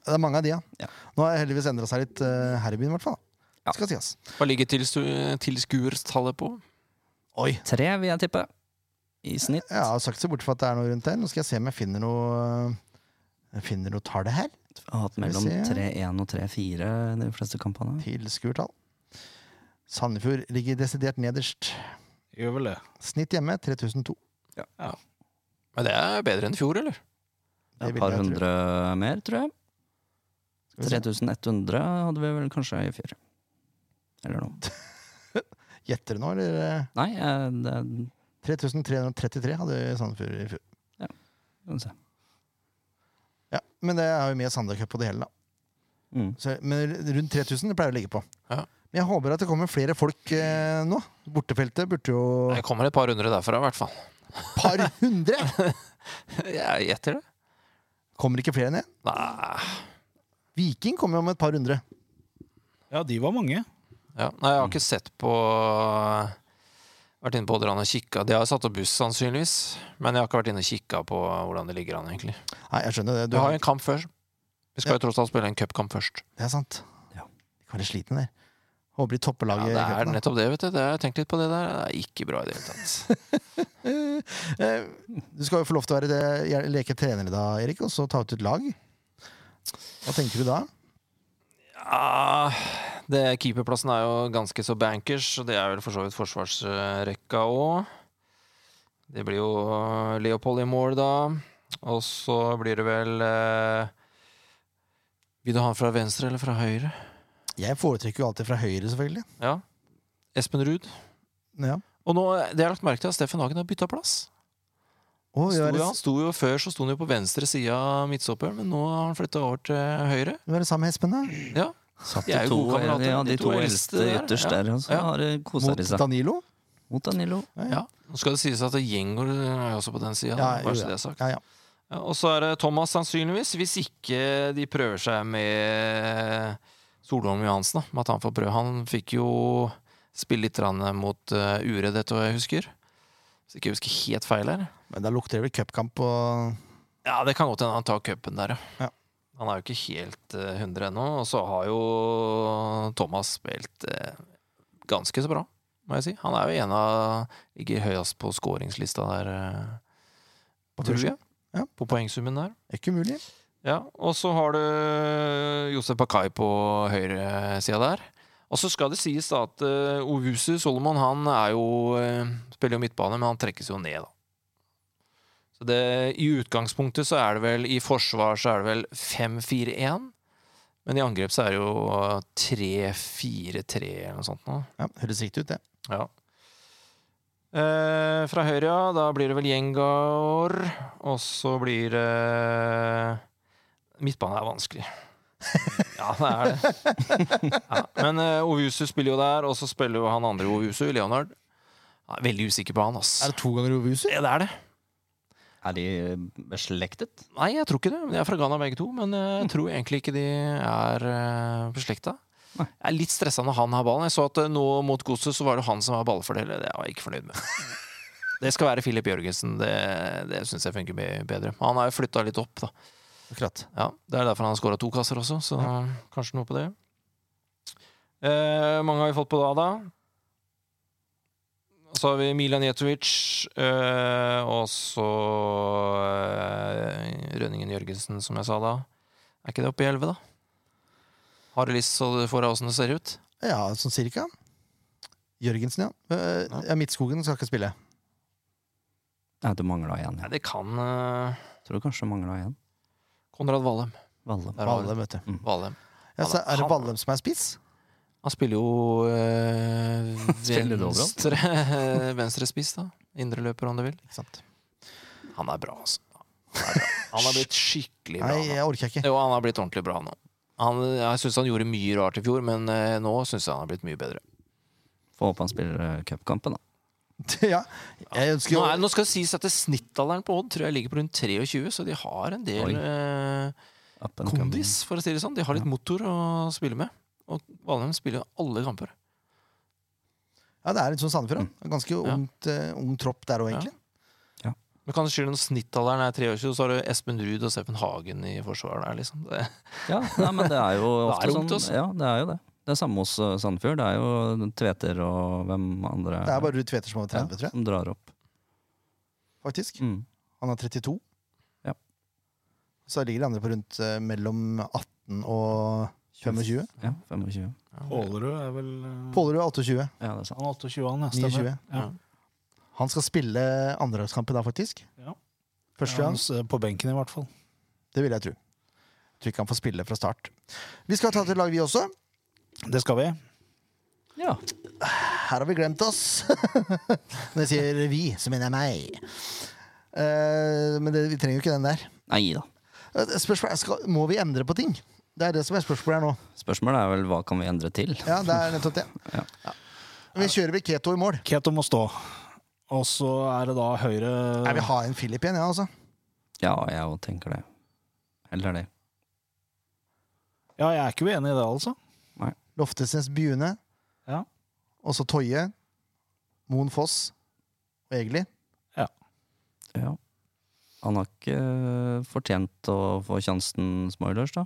Speaker 1: Det er mange av de, ja.
Speaker 4: Ja.
Speaker 1: Nå har heldigvis endra seg litt eh, her i byen, i hvert fall. da. Skal sies.
Speaker 2: Hva ligger tilstu- tilskuerstallet på?
Speaker 1: Oi.
Speaker 4: Tre, vil jeg tippe. I snitt.
Speaker 1: Jeg har sagt så bort for at det er noe rundt der. Nå skal jeg se om jeg finner noe jeg finner noe tall her.
Speaker 4: Jeg har hatt
Speaker 1: vi
Speaker 4: mellom
Speaker 1: se.
Speaker 4: 3-1 og 3-4 i de fleste kampene.
Speaker 1: Tilskuertall. Sandefjord ligger desidert nederst.
Speaker 3: Gjør vel det.
Speaker 1: Snitt hjemme 3002.
Speaker 2: Men det er bedre enn i fjor, eller?
Speaker 1: Det
Speaker 4: Et
Speaker 1: vil
Speaker 4: par
Speaker 1: jeg tro.
Speaker 4: hundre mer, tror jeg.
Speaker 1: Skal vi se.
Speaker 4: 3100 hadde vi vel kanskje i fjor. Eller noe.
Speaker 1: Gjetter du nå, eller? eh?
Speaker 4: Nei, eh, det er,
Speaker 1: 3333 hadde Sandefjord i fjor.
Speaker 4: skal vi se.
Speaker 1: Ja, men det er jo med Sander Cup på det hele, da.
Speaker 4: Mm.
Speaker 1: Så, men rundt 3000 det pleier å ligge på.
Speaker 2: Ja.
Speaker 1: Men jeg håper at det kommer flere folk eh, nå. Bortefeltet burde jo
Speaker 2: Det kommer et par hundre derfra, i hvert fall.
Speaker 1: Et par hundre!
Speaker 2: Jeg gjetter det.
Speaker 1: Kommer ikke flere ned?
Speaker 2: Nei,
Speaker 1: Viking kommer jo om et par hundre.
Speaker 3: Ja, de var mange.
Speaker 2: ja. Nei jeg har ikke sett på Vært inne på Odderan og kikka. De har satt opp buss, sannsynligvis. Men jeg har ikke vært inne og kikka på hvordan det ligger an, egentlig.
Speaker 1: Nei, jeg skjønner det.
Speaker 2: Du har jo en kamp før. Vi skal jo tross alt spille en cupkamp først.
Speaker 1: Det er sant.
Speaker 4: Ja.
Speaker 1: De kan være slitne der. Håper de topper
Speaker 2: Ja,
Speaker 1: laget. i
Speaker 2: det er
Speaker 1: cupen, da.
Speaker 2: nettopp det, vet du. Det har jeg tenkt litt på det der. Det er ikke bra i det hele tatt.
Speaker 1: Eh, Du skal jo få lov til å være det, leke trener i dag, Erik, og så ta ut et lag. Hva tenker du da?
Speaker 2: Ja, Ah, det, keeperplassen er jo ganske så bankers, og det er vel for så vidt forsvarsrekka òg. Det blir jo Leopold i mål, da. Og så blir det vel eh, Vil du ha han fra venstre eller fra høyre?
Speaker 1: Jeg foretrekker jo alltid fra høyre, selvfølgelig.
Speaker 2: Ja. Espen Ruud.
Speaker 1: Ja.
Speaker 2: Og nå, det jeg har lagt merke til, at Steffen Hagen har bytta plass.
Speaker 1: Å,
Speaker 2: Sto
Speaker 1: gjøre,
Speaker 2: jo, han sto jo Før så sto han jo på venstre side av midtstopperen, men nå har han flytta over til høyre.
Speaker 1: være sammen med Espen, da.
Speaker 2: Ja,
Speaker 4: Satt
Speaker 2: De er jo
Speaker 4: de to,
Speaker 2: gode kamerater,
Speaker 4: ja, de to eldste
Speaker 2: der,
Speaker 4: ytterst
Speaker 2: ja.
Speaker 4: der, og så
Speaker 2: Ja.
Speaker 4: har de kosa
Speaker 1: Mot
Speaker 4: de seg.
Speaker 1: Danilo.
Speaker 4: Mot Danilo.
Speaker 2: ja. Nå skal det sies at Gjengor er jo også på den sida.
Speaker 1: Ja, jo,
Speaker 2: bare så det er sagt.
Speaker 1: Ja, ja.
Speaker 2: Ja, og så er det Thomas sannsynligvis, hvis ikke de prøver seg med Solholm Johansen. da, Med at han får prøve. Han fikk jo spille litt grann mot eh, Uredd, etter hva jeg husker. Hvis ikke jeg husker helt feil her.
Speaker 1: Men da lukter det vel cupkamp på
Speaker 2: Ja, det kan godt hende han tar cupen der,
Speaker 1: Ja.
Speaker 2: Han er jo ikke helt eh, 100 ennå. Og så har jo Thomas spilt eh, ganske så bra, må jeg si. Han er jo en av Ligger høyest på skåringslista der, eh,
Speaker 1: På
Speaker 2: tror
Speaker 1: børsen.
Speaker 2: jeg.
Speaker 1: Ja.
Speaker 2: På poengsummen der.
Speaker 1: Er ikke umulig.
Speaker 2: Ja, og så har du Josef Bakai på høyresida der. Og så skal det sies da at eh, Ovusu Solomon han er jo, eh, spiller jo midtbane, men han trekkes jo ned, da. Så det, I utgangspunktet så er det vel i forsvar så er det vel 5-4-1. Men i angrep så er det jo eh, 3-4-3 eller noe sånt. Nå.
Speaker 1: Ja, høres riktig ut, det.
Speaker 2: Ja. Eh, fra høyre, ja. Da blir det vel Gjengar. Og så blir det Midtbane er vanskelig. Ja, det er det. Ja. Men eh, Ovusu spiller jo der, og så spiller jo han andre Ovusu, Leonard. Ja, veldig usikker på han, ass.
Speaker 1: Er det to ganger Ovusu?
Speaker 2: Ja, det er det.
Speaker 4: Er de
Speaker 2: eh,
Speaker 4: beslektet?
Speaker 2: Nei, jeg tror ikke det. De er fra Ghana begge to, men eh, jeg tror egentlig ikke de er eh, beslekta. Jeg er litt stressa når han har ballen. Jeg så at eh, nå mot Godset så var det han som var ballfordeler. Det var jeg ikke fornøyd med. Det skal være Filip Jørgensen. Det, det syns jeg funker mye bedre. Han har jo flytta litt opp, da.
Speaker 1: Akkurat.
Speaker 2: Ja, Det er derfor han har skåra to kasser også, så kanskje noe på det. Eh, mange har vi fått på da, da. Så har vi Milan Jetovic, eh, og så eh, Rønningen Jørgensen, som jeg sa da. Er ikke det oppe i elleve, da? Har du lyst, så du får av åssen det ser ut?
Speaker 1: Ja, sånn cirka. Jørgensen, ja. Eh, ja. Midtskogen skal ikke spille.
Speaker 4: Nei, du mangla én.
Speaker 2: Nei, det kan eh,
Speaker 4: Jeg tror kanskje du mangla én.
Speaker 2: Konrad Valem.
Speaker 4: Valle.
Speaker 2: Der har vi
Speaker 1: Valle, vet du.
Speaker 2: det. Valem.
Speaker 1: Ja, så er det Vallem som er spiss?
Speaker 2: Han spiller jo øh,
Speaker 4: Spiller det overalt?
Speaker 2: venstre, venstrespiss, da. Indreløper, om du vil.
Speaker 1: Ikke sant?
Speaker 2: Han er bra, altså. Han er, bra. Han har blitt skikkelig bra.
Speaker 1: Nei,
Speaker 2: nå.
Speaker 1: jeg orker ikke.
Speaker 2: Jo, han har blitt ordentlig bra nå. Han, jeg syns han gjorde mye rart i fjor, men eh, nå syns jeg han har blitt mye bedre.
Speaker 4: Få håpe han spiller eh, cupkampen, da.
Speaker 1: Ja, jeg ønsker
Speaker 2: Nå,
Speaker 1: jo
Speaker 2: er, nå skal det sies at det snittalderen på Odd tror jeg ligger på rundt 23, så de har en
Speaker 4: Oi.
Speaker 2: del eh,
Speaker 4: Up and coming.
Speaker 2: kondis, for å si det sånn. De har litt motor å spille med. Og Valheim spiller alle kamper.
Speaker 1: Ja, det er litt sånn Sandefjord, da. Ganske
Speaker 2: Mm. Ja.
Speaker 1: ungt, eh, ung tropp der òg, egentlig.
Speaker 2: Men kan det skylde når snittalderen er 23, så har du Espen Ruud og Steffen Hagen i forsvaret der, liksom. Det,
Speaker 4: Ja, nei, men det er jo
Speaker 2: Det
Speaker 4: ofte
Speaker 2: er ungt,
Speaker 4: sånn.
Speaker 2: altså.
Speaker 4: Ja, det er jo det. Det er samme hos eh, Sandefjord. Det er jo Tveter og hvem andre
Speaker 1: Det er bare Ruud Tveter som er over 30, tror jeg.
Speaker 4: som drar opp.
Speaker 1: faktisk.
Speaker 4: Mm.
Speaker 1: Han er 32.
Speaker 4: Ja.
Speaker 1: Så ligger de andre på rundt eh, mellom 18 og 25.
Speaker 4: Ja, 25.
Speaker 3: Pålerud er vel
Speaker 2: Mm.
Speaker 3: eh,
Speaker 1: Pålerud er 28.
Speaker 4: Ja, det er sant.
Speaker 3: Han er 28, han. jeg
Speaker 1: 29.
Speaker 3: stemmer. Ja.
Speaker 1: Han skal spille andredagskampen da, faktisk.
Speaker 3: Ja.
Speaker 1: Første gang.
Speaker 3: Han er På benken, i hvert fall.
Speaker 1: Det vil jeg tro. Tror ikke han får spille fra start. Vi skal ta til lag, vi også.
Speaker 3: Det skal vi.
Speaker 4: Ja.
Speaker 1: Her har vi glemt oss. Når jeg sier vi, så mener jeg meg. Eh, men det, vi trenger jo ikke den der.
Speaker 4: Nei da.
Speaker 1: Eh, Spørsmålet er, skal, Må vi endre på ting? Det er det som er spørsmålet her nå.
Speaker 4: Spørsmålet er vel hva kan vi endre til?
Speaker 1: Ja, det er nettopp det. Ja. Vi kjører vel Keto i mål.
Speaker 3: Keto må stå. Og så er det da høyre
Speaker 1: Jeg vil ha en Filip igjen, jeg, ja, altså.
Speaker 4: Ja, jeg òg tenker det. Heller det.
Speaker 3: Ja, jeg er ikke uenig i det, altså.
Speaker 1: Loftesnes Bjune.
Speaker 3: Ja.
Speaker 1: Og så Toje. Moen Foss. Og Egeli.
Speaker 4: Ja. Han har ikke eh, fortjent å få sjansen, Smoilers, da.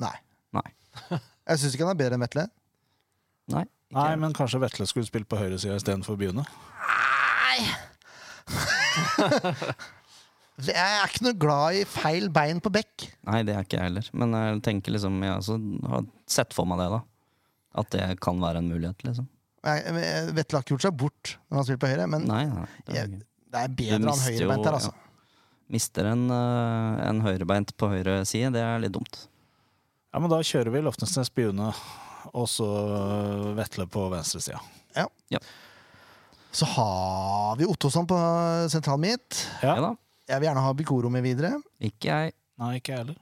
Speaker 1: Nei.
Speaker 4: Nei.
Speaker 1: Jeg syns ikke han er bedre enn Vetle.
Speaker 4: Nei. ikke
Speaker 3: Nei,
Speaker 4: jeg.
Speaker 3: men kanskje Vetle skulle spilt på høyresida istedenfor Bjune.
Speaker 1: Jeg er ikke noe glad i feil bein på bekk.
Speaker 4: Nei, det er ikke jeg heller. Men jeg tenker liksom Jeg også har sett for meg det, da. At det kan være en mulighet, liksom.
Speaker 1: Jeg- jeg- Vetle har ikke gjort seg bort når han spiller på høyre, men
Speaker 4: Nei, nei. Det er
Speaker 1: jeg,
Speaker 4: ikke.
Speaker 1: det er bedre
Speaker 4: Du
Speaker 1: han
Speaker 4: mister jo-
Speaker 1: høyrebeint der, altså.
Speaker 4: Mister en, eh, en høyrebeint på høyre side, det er litt dumt.
Speaker 3: Ja, men da kjører vi Loftesnes Bjune, og så Vetle på venstresida.
Speaker 1: Så har vi Ottosson på sentralen mitt.
Speaker 3: Ja.
Speaker 4: Ja da.
Speaker 1: Jeg vil gjerne ha Bikoro med videre.
Speaker 4: Ikke jeg.
Speaker 3: Nei, ikke jeg heller.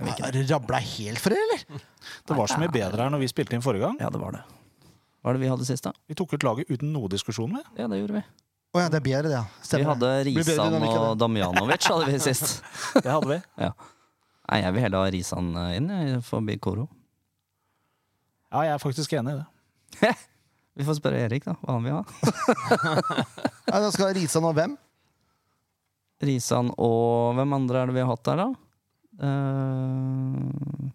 Speaker 1: Har det Rabla helt for det, eller?
Speaker 3: Det var så mye bedre her når vi spilte inn forrige gang.
Speaker 4: Ja, det var det. Hva er det vi hadde sist, da?
Speaker 3: Vi tok ut laget uten noe diskusjon med.
Speaker 4: Ja, det gjorde vi.
Speaker 1: Å ja, det er bedre, det. ja.
Speaker 4: vi
Speaker 1: Stemmer.
Speaker 4: hadde
Speaker 1: det. Blir bedre
Speaker 4: Risan
Speaker 1: dynamikk av
Speaker 4: og Damjanovic hadde vi sist.
Speaker 3: Det hadde vi.
Speaker 4: Nei, jeg vil heller ha Risan eh, inn jeg, forbi Koro.
Speaker 3: Ja, jeg er faktisk enig i det.
Speaker 4: Vi får spørre Erik, da, hva han vil ha.
Speaker 1: det. Ja, da skal Risan og hvem?
Speaker 4: Risan og Hvem andre er det vi har hatt der, da? Eh,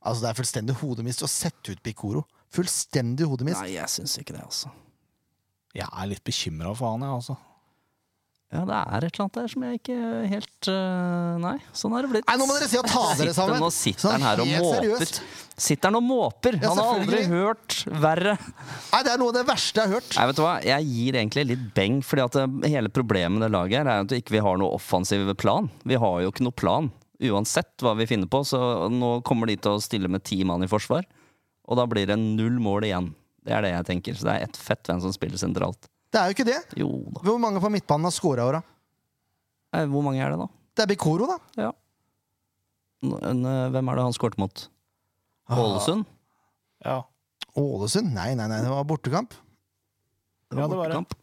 Speaker 1: Altså, det er fullstendig hodemist å sette ut Bikoro. Fullstendig hodemist.
Speaker 4: nei, jeg syns ikke det, altså.
Speaker 3: Jeg er litt bekymra for han, jeg, altså.
Speaker 4: Ja, det er et eller annet der som jeg ikke helt eh, Nei, sånn er det blitt.
Speaker 1: Nei, nå må dere si og ta dere sammen! Sånn,
Speaker 4: Sitter, nå sitter
Speaker 3: Sånn
Speaker 4: han her og
Speaker 1: helt
Speaker 4: måper.
Speaker 1: seriøst.
Speaker 4: Sitter han og måper!
Speaker 1: Ja,
Speaker 4: Han har aldri hørt verre.
Speaker 1: Nei, det er noe av det verste jeg har hørt.
Speaker 4: Nei, vet du hva? Jeg gir egentlig litt beng, fordi at eh, hele problemet med det laget her er at vi ikke har noe offensiv plan. Vi har jo ikke noe plan, uansett hva vi finner på. Så nå kommer de til å stille med ti mann i forsvar, og da blir det null mål igjen. Det er det jeg tenker. Så det er ett fett hvem som spiller sentralt.
Speaker 1: Det er jo ikke det.
Speaker 4: Jo da.
Speaker 1: Hvor mange på midtbanen har scora i år, da?
Speaker 4: Eh, Hvor mange er det, da?
Speaker 1: Det er Bikoro, da.
Speaker 4: Ja. N- n- Hvem er det han skåret mot?
Speaker 3: Ah.
Speaker 4: Ålesund?
Speaker 3: Ja.
Speaker 1: Ålesund? Nei, nei, nei, det var bortekamp.
Speaker 3: Ja, det var det.
Speaker 4: bortekamp.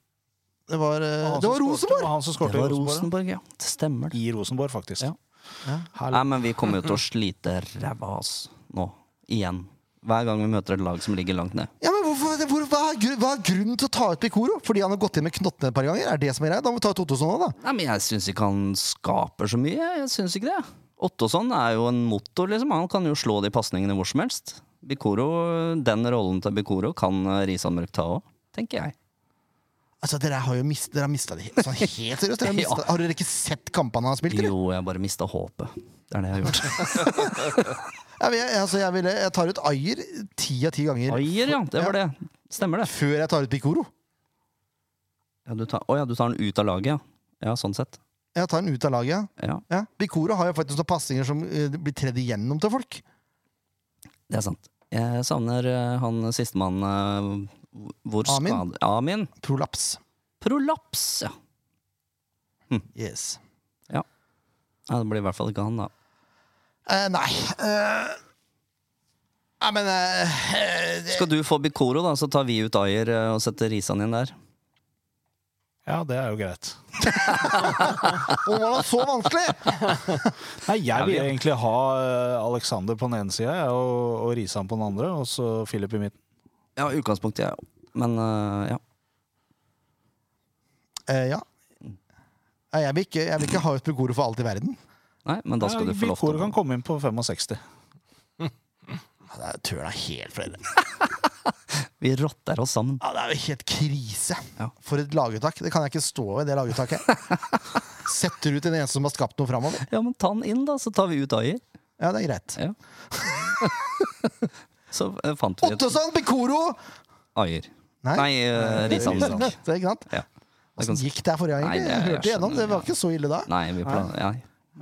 Speaker 1: Det var, eh,
Speaker 3: Han
Speaker 1: det
Speaker 3: som
Speaker 1: var
Speaker 3: skårte-
Speaker 1: Rosenborg!
Speaker 3: var Han som
Speaker 4: Det
Speaker 3: skårte i
Speaker 4: var
Speaker 3: Rosenborg.
Speaker 4: Rosenborg, ja. Det stemmer,
Speaker 3: da.
Speaker 4: det.
Speaker 3: I Rosenborg, Um, faktisk.
Speaker 4: Ja.
Speaker 3: Herlig.
Speaker 4: Nei, men vi kommer jo til å slite ræva av oss nå. altså, Igjen. hver gang vi møter et lag som ligger langt ned.
Speaker 1: Ja, men hvorfor, hvor, hva, er gru- hva er grunnen til å ta ut Picoro? Fordi han har gått inn med knottene et par ganger? Er det som er greit? Da må vi ta ut Ottosson òg, da.
Speaker 4: Nei, men Jeg syns ikke han skaper så mye. Jeg syns ikke det. Ottosson er jo en motor, liksom. Han kan jo slå de pasningene hvor som helst. Bikoro, Den rollen til Bikoro kan eh, Risan Mørk ta òg, tenker jeg.
Speaker 1: Altså, Dere har jo mist, dere har mista det helt, sånn helt seriøst. Dere har, mistet, har dere ikke sett kampene han har spilt? Eller?
Speaker 4: Jo, jeg bare mista håpet. Det er det jeg har gjort.
Speaker 1: Ja, men jeg, altså, jeg, ville, jeg tar ut Ayer ti av ti ganger
Speaker 4: Ayer, ja. Det var det. Stemmer det.
Speaker 1: før jeg tar ut Picoro.
Speaker 4: Ja, du tar, å ja, du tar den ut av laget, ja. Ja, sånn sett.
Speaker 1: Jeg tar den ut av laget.
Speaker 4: Ja,
Speaker 1: Ja. Picoro har jo faktisk noen passinger som eh, blir tredd igjennom til folk.
Speaker 4: det er sant. Jeg savner eh, han sistemann eh, hvor
Speaker 1: Amin?
Speaker 4: skad- Amin.
Speaker 1: Prolaps.
Speaker 4: Prolaps, ja.
Speaker 1: Yes.
Speaker 4: ja. Det blir i hvert fall ikke han, da.
Speaker 1: Eh, nei eh, Nei, men eh, eh, det-
Speaker 4: Skal du få Bikoro, da, så tar vi ut Ayer eh, og setter Risan inn der.
Speaker 3: Ja, det er jo greit.
Speaker 1: Å, var det så vanskelig?!
Speaker 3: Nei, jeg vil egentlig ha eh, Alexander på den ene sida og, og Risan på den andre, og så Philip i midten.
Speaker 4: Ja, i utgangspunktet, jeg òg. Men eh, ja.
Speaker 1: Eh, ja. Nei, jeg, vil ikke, jeg vil ikke ha ut Picoro for alt i verden.
Speaker 4: Nei, men da skal
Speaker 3: Nei,
Speaker 4: du få lov
Speaker 3: Vilkår
Speaker 4: til å
Speaker 3: kan komme inn på 65.
Speaker 1: Ja, Det er tørna helt fra det.
Speaker 4: Vi rotter oss sammen.
Speaker 1: Ja, det er jo helt krise.
Speaker 4: Ja.
Speaker 1: For et laguttak. Det kan jeg ikke stå ved, det laguttaket. Setter ut en eneste som har skapt noe framover.
Speaker 4: Ja, men ta han inn, da, så tar vi ut Ayer.
Speaker 1: Ja, det er greit.
Speaker 4: Ja. så eh, fant vi et
Speaker 1: Ottosson, Picoro!
Speaker 4: Ayer.
Speaker 1: Nei.
Speaker 4: Nei, eh, Risan
Speaker 1: Det
Speaker 4: Mørk.
Speaker 1: er ikke sant?
Speaker 4: Ja. Det
Speaker 1: Hvordan
Speaker 4: kan-
Speaker 1: gikk det her forrige gang?
Speaker 4: Nei, det-
Speaker 1: egentlig? jeg
Speaker 4: jeg
Speaker 1: hørte igjennom,
Speaker 4: skjønner,
Speaker 1: det var
Speaker 4: ja.
Speaker 1: ikke så ille da.
Speaker 4: Nei, vi plan... Ja.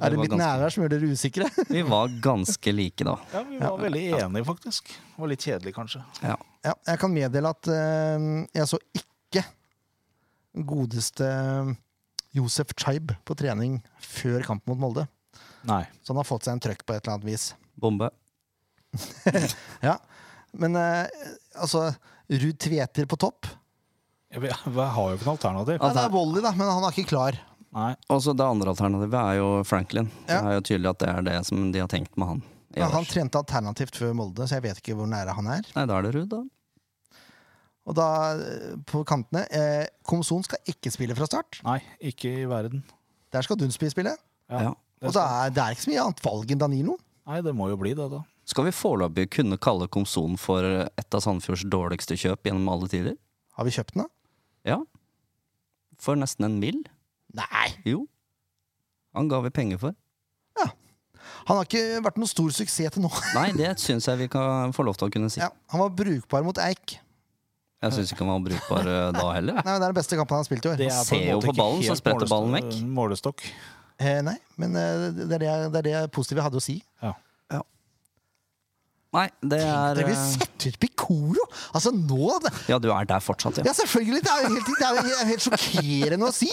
Speaker 1: er det
Speaker 4: var
Speaker 1: mitt
Speaker 4: ganske-
Speaker 1: nærvær som gjør dere usikre?
Speaker 4: Vi var ganske like, da.
Speaker 3: Ja, vi var veldig enige, faktisk. Det var litt kjedelig, kanskje.
Speaker 4: Ja.
Speaker 1: Ja, jeg kan meddele at eh, jeg så ikke godeste Josef Chaib på trening før kampen mot Molde.
Speaker 3: Nei.
Speaker 1: Så han har fått seg en trøkk på et eller annet vis.
Speaker 4: Bombe.
Speaker 1: Ja, Men eh, altså Ruud Tveter på topp?
Speaker 3: Jeg, vet- jeg har jo ikke noe alternativ.
Speaker 1: Ja, det er volley, da, men han er ikke klar.
Speaker 3: Nei.
Speaker 4: Og så det andre alternativet er jo Franklin. Det
Speaker 1: Ja.
Speaker 4: er jo tydelig at det er det som de har tenkt med han. i
Speaker 1: Men
Speaker 4: år.
Speaker 1: han trente alternativt før Molde, så jeg vet ikke hvor nære han er.
Speaker 4: Nei, da er det Ruud, da.
Speaker 1: Og da, eh, på kantene eh, Komson skal ikke spille fra start.
Speaker 3: Nei, ikke i verden.
Speaker 1: Der skal Dunsby spille.
Speaker 3: Ja.
Speaker 4: Ja.
Speaker 1: Og det er, det er ikke så mye annet valg enn Danilo.
Speaker 3: Nei, det må jo bli det, da.
Speaker 4: Skal vi foreløpig kunne kalle Komson for et av Sandefjords dårligste kjøp gjennom alle tider?
Speaker 1: Har vi kjøpt den, da?
Speaker 4: Ja. For nesten en mill.
Speaker 1: Nei!
Speaker 4: Jo. Han ga vi penger for.
Speaker 1: Han har ikke vært noen stor suksess til nå.
Speaker 4: Nei, det syns jeg vi kan få lov til å kunne si.
Speaker 1: Ja, han var brukbar mot Eik.
Speaker 4: Jeg syns ikke han var brukbar eh, da heller. jeg.
Speaker 1: Nei, men Det er den beste kampen han har spilt i år.
Speaker 3: Det er
Speaker 4: ser
Speaker 3: en
Speaker 4: jo
Speaker 3: måte
Speaker 4: på
Speaker 3: ikke
Speaker 4: ballen, så
Speaker 3: helt
Speaker 4: spretter ballen
Speaker 3: målestokk- Målestokk.
Speaker 1: Eh, nei, men eh, det er det, jeg- det, er det positive jeg hadde å si.
Speaker 4: Nei, det er
Speaker 1: Dere vil
Speaker 4: eh,
Speaker 1: sette ut Picoro! Altså, nå det,
Speaker 4: Ja, du er der fortsatt, ja.
Speaker 1: Ja, selvfølgelig! Det er jo helt, det er jo helt- helt sjokkerende å si!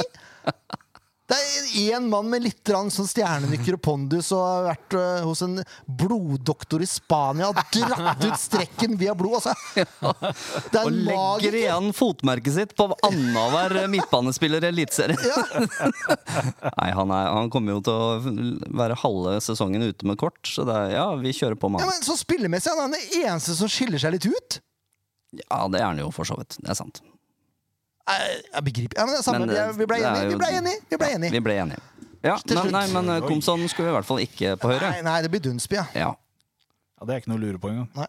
Speaker 1: Det er én mann med litt grann sånn stjernenykker og pondus og har vært eh, hos en bloddoktor i Spania og dratt ut strekken via blod, altså! Det er
Speaker 4: Og
Speaker 1: en
Speaker 4: legger
Speaker 1: magiker!
Speaker 4: igjen fotmerket sitt på annenhver midtbanespiller i Eliteserien. Nei, han, er- han kommer jo til å være halve sesongen ute med kort, så det er, ja, vi kjører på med
Speaker 1: Ja,
Speaker 4: han.
Speaker 1: men Så spillemessig han er den eneste som skiller seg litt ut.
Speaker 4: Ja, det er han jo for så vidt. Det er sant.
Speaker 1: Jeg, jeg begriper ja, men det er samme.
Speaker 4: Men det-
Speaker 1: vi, vi ble
Speaker 4: det er
Speaker 1: enige!
Speaker 4: jo-
Speaker 1: Vi ble enige! Vi ble
Speaker 4: Ja,
Speaker 1: enige.
Speaker 4: vi ble enige. Ja,
Speaker 1: Til
Speaker 4: men,
Speaker 1: slutt.
Speaker 4: nei, men eh, Komson skulle vi i hvert fall ikke på høyre.
Speaker 1: Nei, nei, det blir Dunsby, ja.
Speaker 4: Ja,
Speaker 3: Ja, det er ikke noe å lure på engang.
Speaker 1: Jeg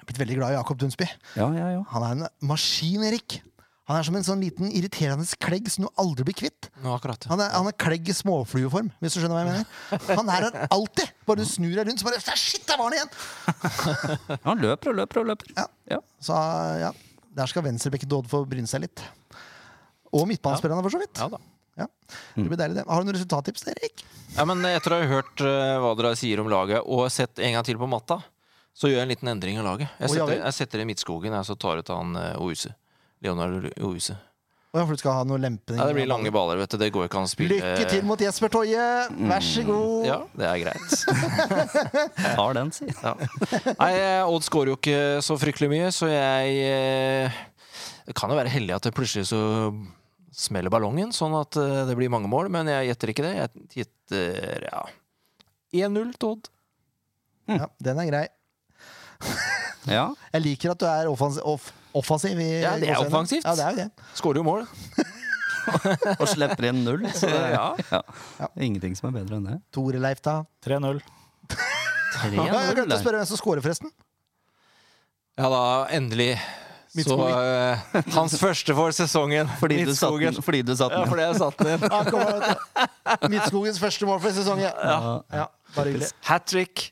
Speaker 1: er blitt veldig glad i Jakob Dunsby.
Speaker 4: ja, ja. ja.
Speaker 1: Han er en maskin, Erik. Han er som en sånn liten irriterende klegg som du aldri blir kvitt.
Speaker 2: Nå akkurat.
Speaker 1: Han er, han er klegg i småflueform, hvis du skjønner hva jeg mener. Han er her alltid! Bare du snur deg rundt, så bare Shit, der var han igjen!
Speaker 4: Han løper og løper og løper.
Speaker 1: Ja.
Speaker 4: Ja.
Speaker 1: Så ja, der skal venstrebekken Dodd få bryne seg litt. Og midtbanespillerne, for så vidt.
Speaker 2: Ja da.
Speaker 1: Ja. Det blir deilig, det. Har du noen resultattips, Erik?
Speaker 2: Ja, men etter å ha hørt eh, hva dere sier om laget, og sett en gang til på matta, så gjør jeg en liten endring av laget. Jeg
Speaker 1: Å, ja
Speaker 2: setter,
Speaker 1: vel.
Speaker 2: jeg setter det i Midtskogen, jeg, så tar ut han eh, Ouse. Leonard Ouse.
Speaker 1: Å ja, for du skal ha noe lempende
Speaker 2: Ja, det blir lange baller, vet du. Det går ikke an å spille
Speaker 1: Lykke til mot Jesper Toje! Vær så god!
Speaker 2: Mm. Ja, det er greit.
Speaker 4: Tar den, si.
Speaker 2: Ja. Nei, eh, Odd skårer jo ikke så fryktelig mye, så jeg eh, Det kan jo være heldig at det plutselig så smeller ballongen, sånn at eh, det blir mange mål, men jeg gjetter ikke det. Jeg gjetter ja 1-0 til Odd.
Speaker 1: Ja, den er grei.
Speaker 4: Ja.
Speaker 1: Jeg liker at du er offensiv. Off offensiv i,
Speaker 2: Ja, det er
Speaker 1: gåseøyne.
Speaker 2: offensivt.
Speaker 1: Ja, det er jo det.
Speaker 2: Skårer jo mål.
Speaker 4: Og slipper inn null. Så det, ja.
Speaker 2: Ja.
Speaker 4: Ingenting som er bedre enn det.
Speaker 1: Tore-Leif, da.
Speaker 3: 3-0.
Speaker 1: Ja, jeg glemte å spørre hvem som scorer, forresten.
Speaker 2: Ja da, endelig. Så eh, hans første for sesongen.
Speaker 4: Fordi du satt
Speaker 2: Midtskogen.
Speaker 4: den. Fordi du satt
Speaker 2: Ja,
Speaker 4: den.
Speaker 2: fordi jeg satt den inn.
Speaker 1: Ja, kom her, vet du. Midtskogens første mål for sesongen. Ja,
Speaker 4: Ja.
Speaker 1: ja bare hyggelig.
Speaker 2: Hat trick.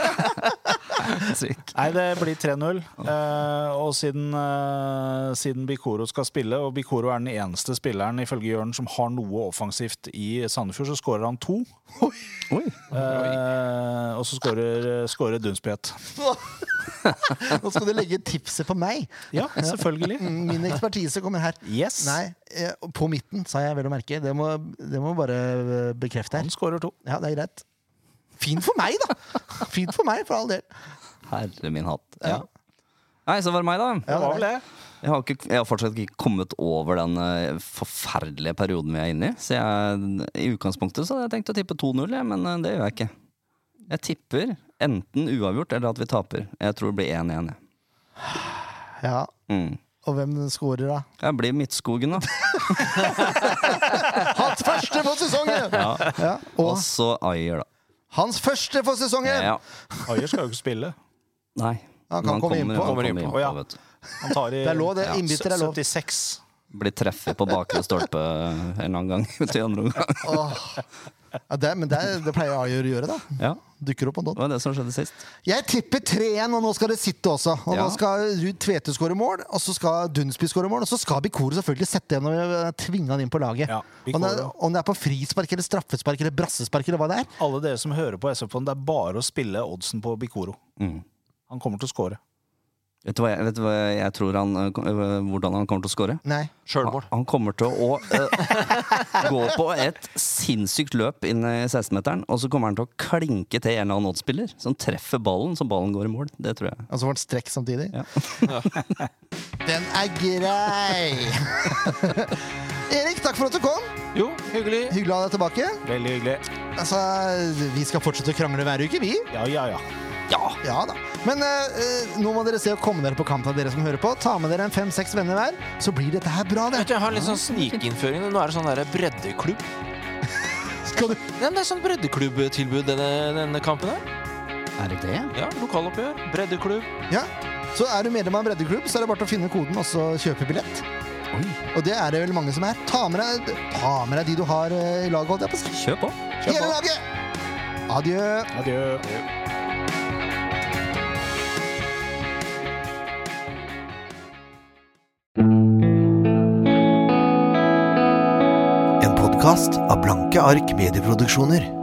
Speaker 4: Sykt.
Speaker 3: Nei, det blir 3-0. Eh, og siden, eh, siden Bikoro skal spille, og Bikoro er den eneste spilleren ifølge Jørn som har noe offensivt i Sandefjord, så skårer han to.
Speaker 4: Oi.
Speaker 3: Eh, og så skårer, skårer Dunsbjet.
Speaker 1: Nå skal du legge tipset på meg.
Speaker 3: Ja, selvfølgelig.
Speaker 1: Mm, Min ekspertise kommer her.
Speaker 3: Yes.
Speaker 1: Nei, eh, på midten, sa jeg vel å merke. Det må, det må bare eh, bekrefte
Speaker 3: Han
Speaker 1: her.
Speaker 3: skårer to.
Speaker 1: Ja, det er greit. Fint for meg, da! Fint for meg, for all del.
Speaker 4: Herre min hatt. Ja.
Speaker 1: Ja.
Speaker 4: Nei, så var det meg, da.
Speaker 1: Ja, det er greit.
Speaker 4: Jeg har, ikke, jeg har fortsatt ikke kommet over den eh, forferdelige perioden vi er inne i. Så jeg, i utgangspunktet så hadde jeg tenkt å tippe 2-0, jeg, men eh, det gjør jeg ikke. Jeg tipper enten uavgjort eller at vi taper. Jeg tror det blir 1-1. jeg.
Speaker 1: ja.
Speaker 4: Mm.
Speaker 1: Og hvem scorer, da?
Speaker 4: Jeg blir Midtskogen, da.
Speaker 1: Hans første for sesongen!
Speaker 4: Ja.
Speaker 1: Ja,
Speaker 4: Og
Speaker 1: og
Speaker 4: så Ayer, da.
Speaker 1: hans første for sesongen!
Speaker 4: Ja.
Speaker 3: Ayer skal jo ikke spille.
Speaker 4: Nei.
Speaker 1: Han kan
Speaker 4: men
Speaker 1: komme innpå.
Speaker 4: Han
Speaker 2: Kommer
Speaker 4: kommer
Speaker 2: innpå,
Speaker 4: innpå,
Speaker 3: ja.
Speaker 4: vet du.
Speaker 3: Han tar i
Speaker 1: Det er lov, det.
Speaker 4: Ja,
Speaker 1: Innbytter er lov.
Speaker 3: 76.
Speaker 4: Blir treffet på bakre stolpe eh, en eller annen gang. Til andre omgang.
Speaker 1: Åh. Ja, det, men det, er- det pleier Ajor å gjøre, da.
Speaker 4: Ja,
Speaker 1: Dukker opp på
Speaker 4: det var det som skjedde sist.
Speaker 1: Jeg tipper 3-1, og nå skal det sitte også. Og
Speaker 4: Ja.
Speaker 1: Nå skal Ruud Tvete skåre mål, og så skal Dunsby skåre mål, og så skal Bikoro selvfølgelig sette igjen og eh, tvinge han inn på laget.
Speaker 3: Ja,
Speaker 1: om, det,
Speaker 3: Bikoro.
Speaker 1: om det er på frispark eller straffespark eller brassespark eller hva det er.
Speaker 3: Alle dere som hører på SF-en, det er bare å spille oddsen på Bikoro.
Speaker 4: Mm.
Speaker 3: Han kommer til å skåre.
Speaker 4: Vet du hva jeg, vet du hva jeg tror han, eh, kom- eh, hvordan han kommer til å score?
Speaker 1: Nei.
Speaker 2: Sjølmål.
Speaker 4: Han kommer til å eh, gå på et sinnssykt løp inn i 16-meteren, og så kommer han til å klinke til en eller annen oddspiller som treffer ballen så ballen går i mål. Det tror jeg.
Speaker 1: Og så får han strekk samtidig.
Speaker 4: Ja.
Speaker 1: Den er grei! Erik, takk for at du kom.
Speaker 2: Jo, hyggelig.
Speaker 1: Hyggelig å ha deg tilbake.
Speaker 3: Veldig hyggelig.
Speaker 1: Altså, Vi skal fortsette å krangle hver uke, vi.
Speaker 3: Ja, ja, ja.
Speaker 1: Ja da. Men eh, eh, nå må dere se å komme dere på kampen, dere som hører på. Ta med dere en fem-seks venner hver, så blir dette her bra, det.
Speaker 2: Vet du, Jeg har litt sånn snikinnføring. Nå er det sånn der breddeklubb.
Speaker 1: Skal du
Speaker 2: Nei, men det er sånn breddeklubbtilbud denne, denne kampen her.
Speaker 4: Er det det?
Speaker 2: Ja, Lokaloppgjør, breddeklubb.
Speaker 1: Ja, så er du medlem av en breddeklubb, så er det bare til å finne koden og så kjøpe billett. Og det er det vel mange som er. Ta med deg, ta med deg de du har eh, i laget, holdt jeg på å si.
Speaker 4: Kjør på.
Speaker 1: Hele laget! Adjø.
Speaker 3: Adjø.
Speaker 6: En podkast av Blanke ark medieproduksjoner.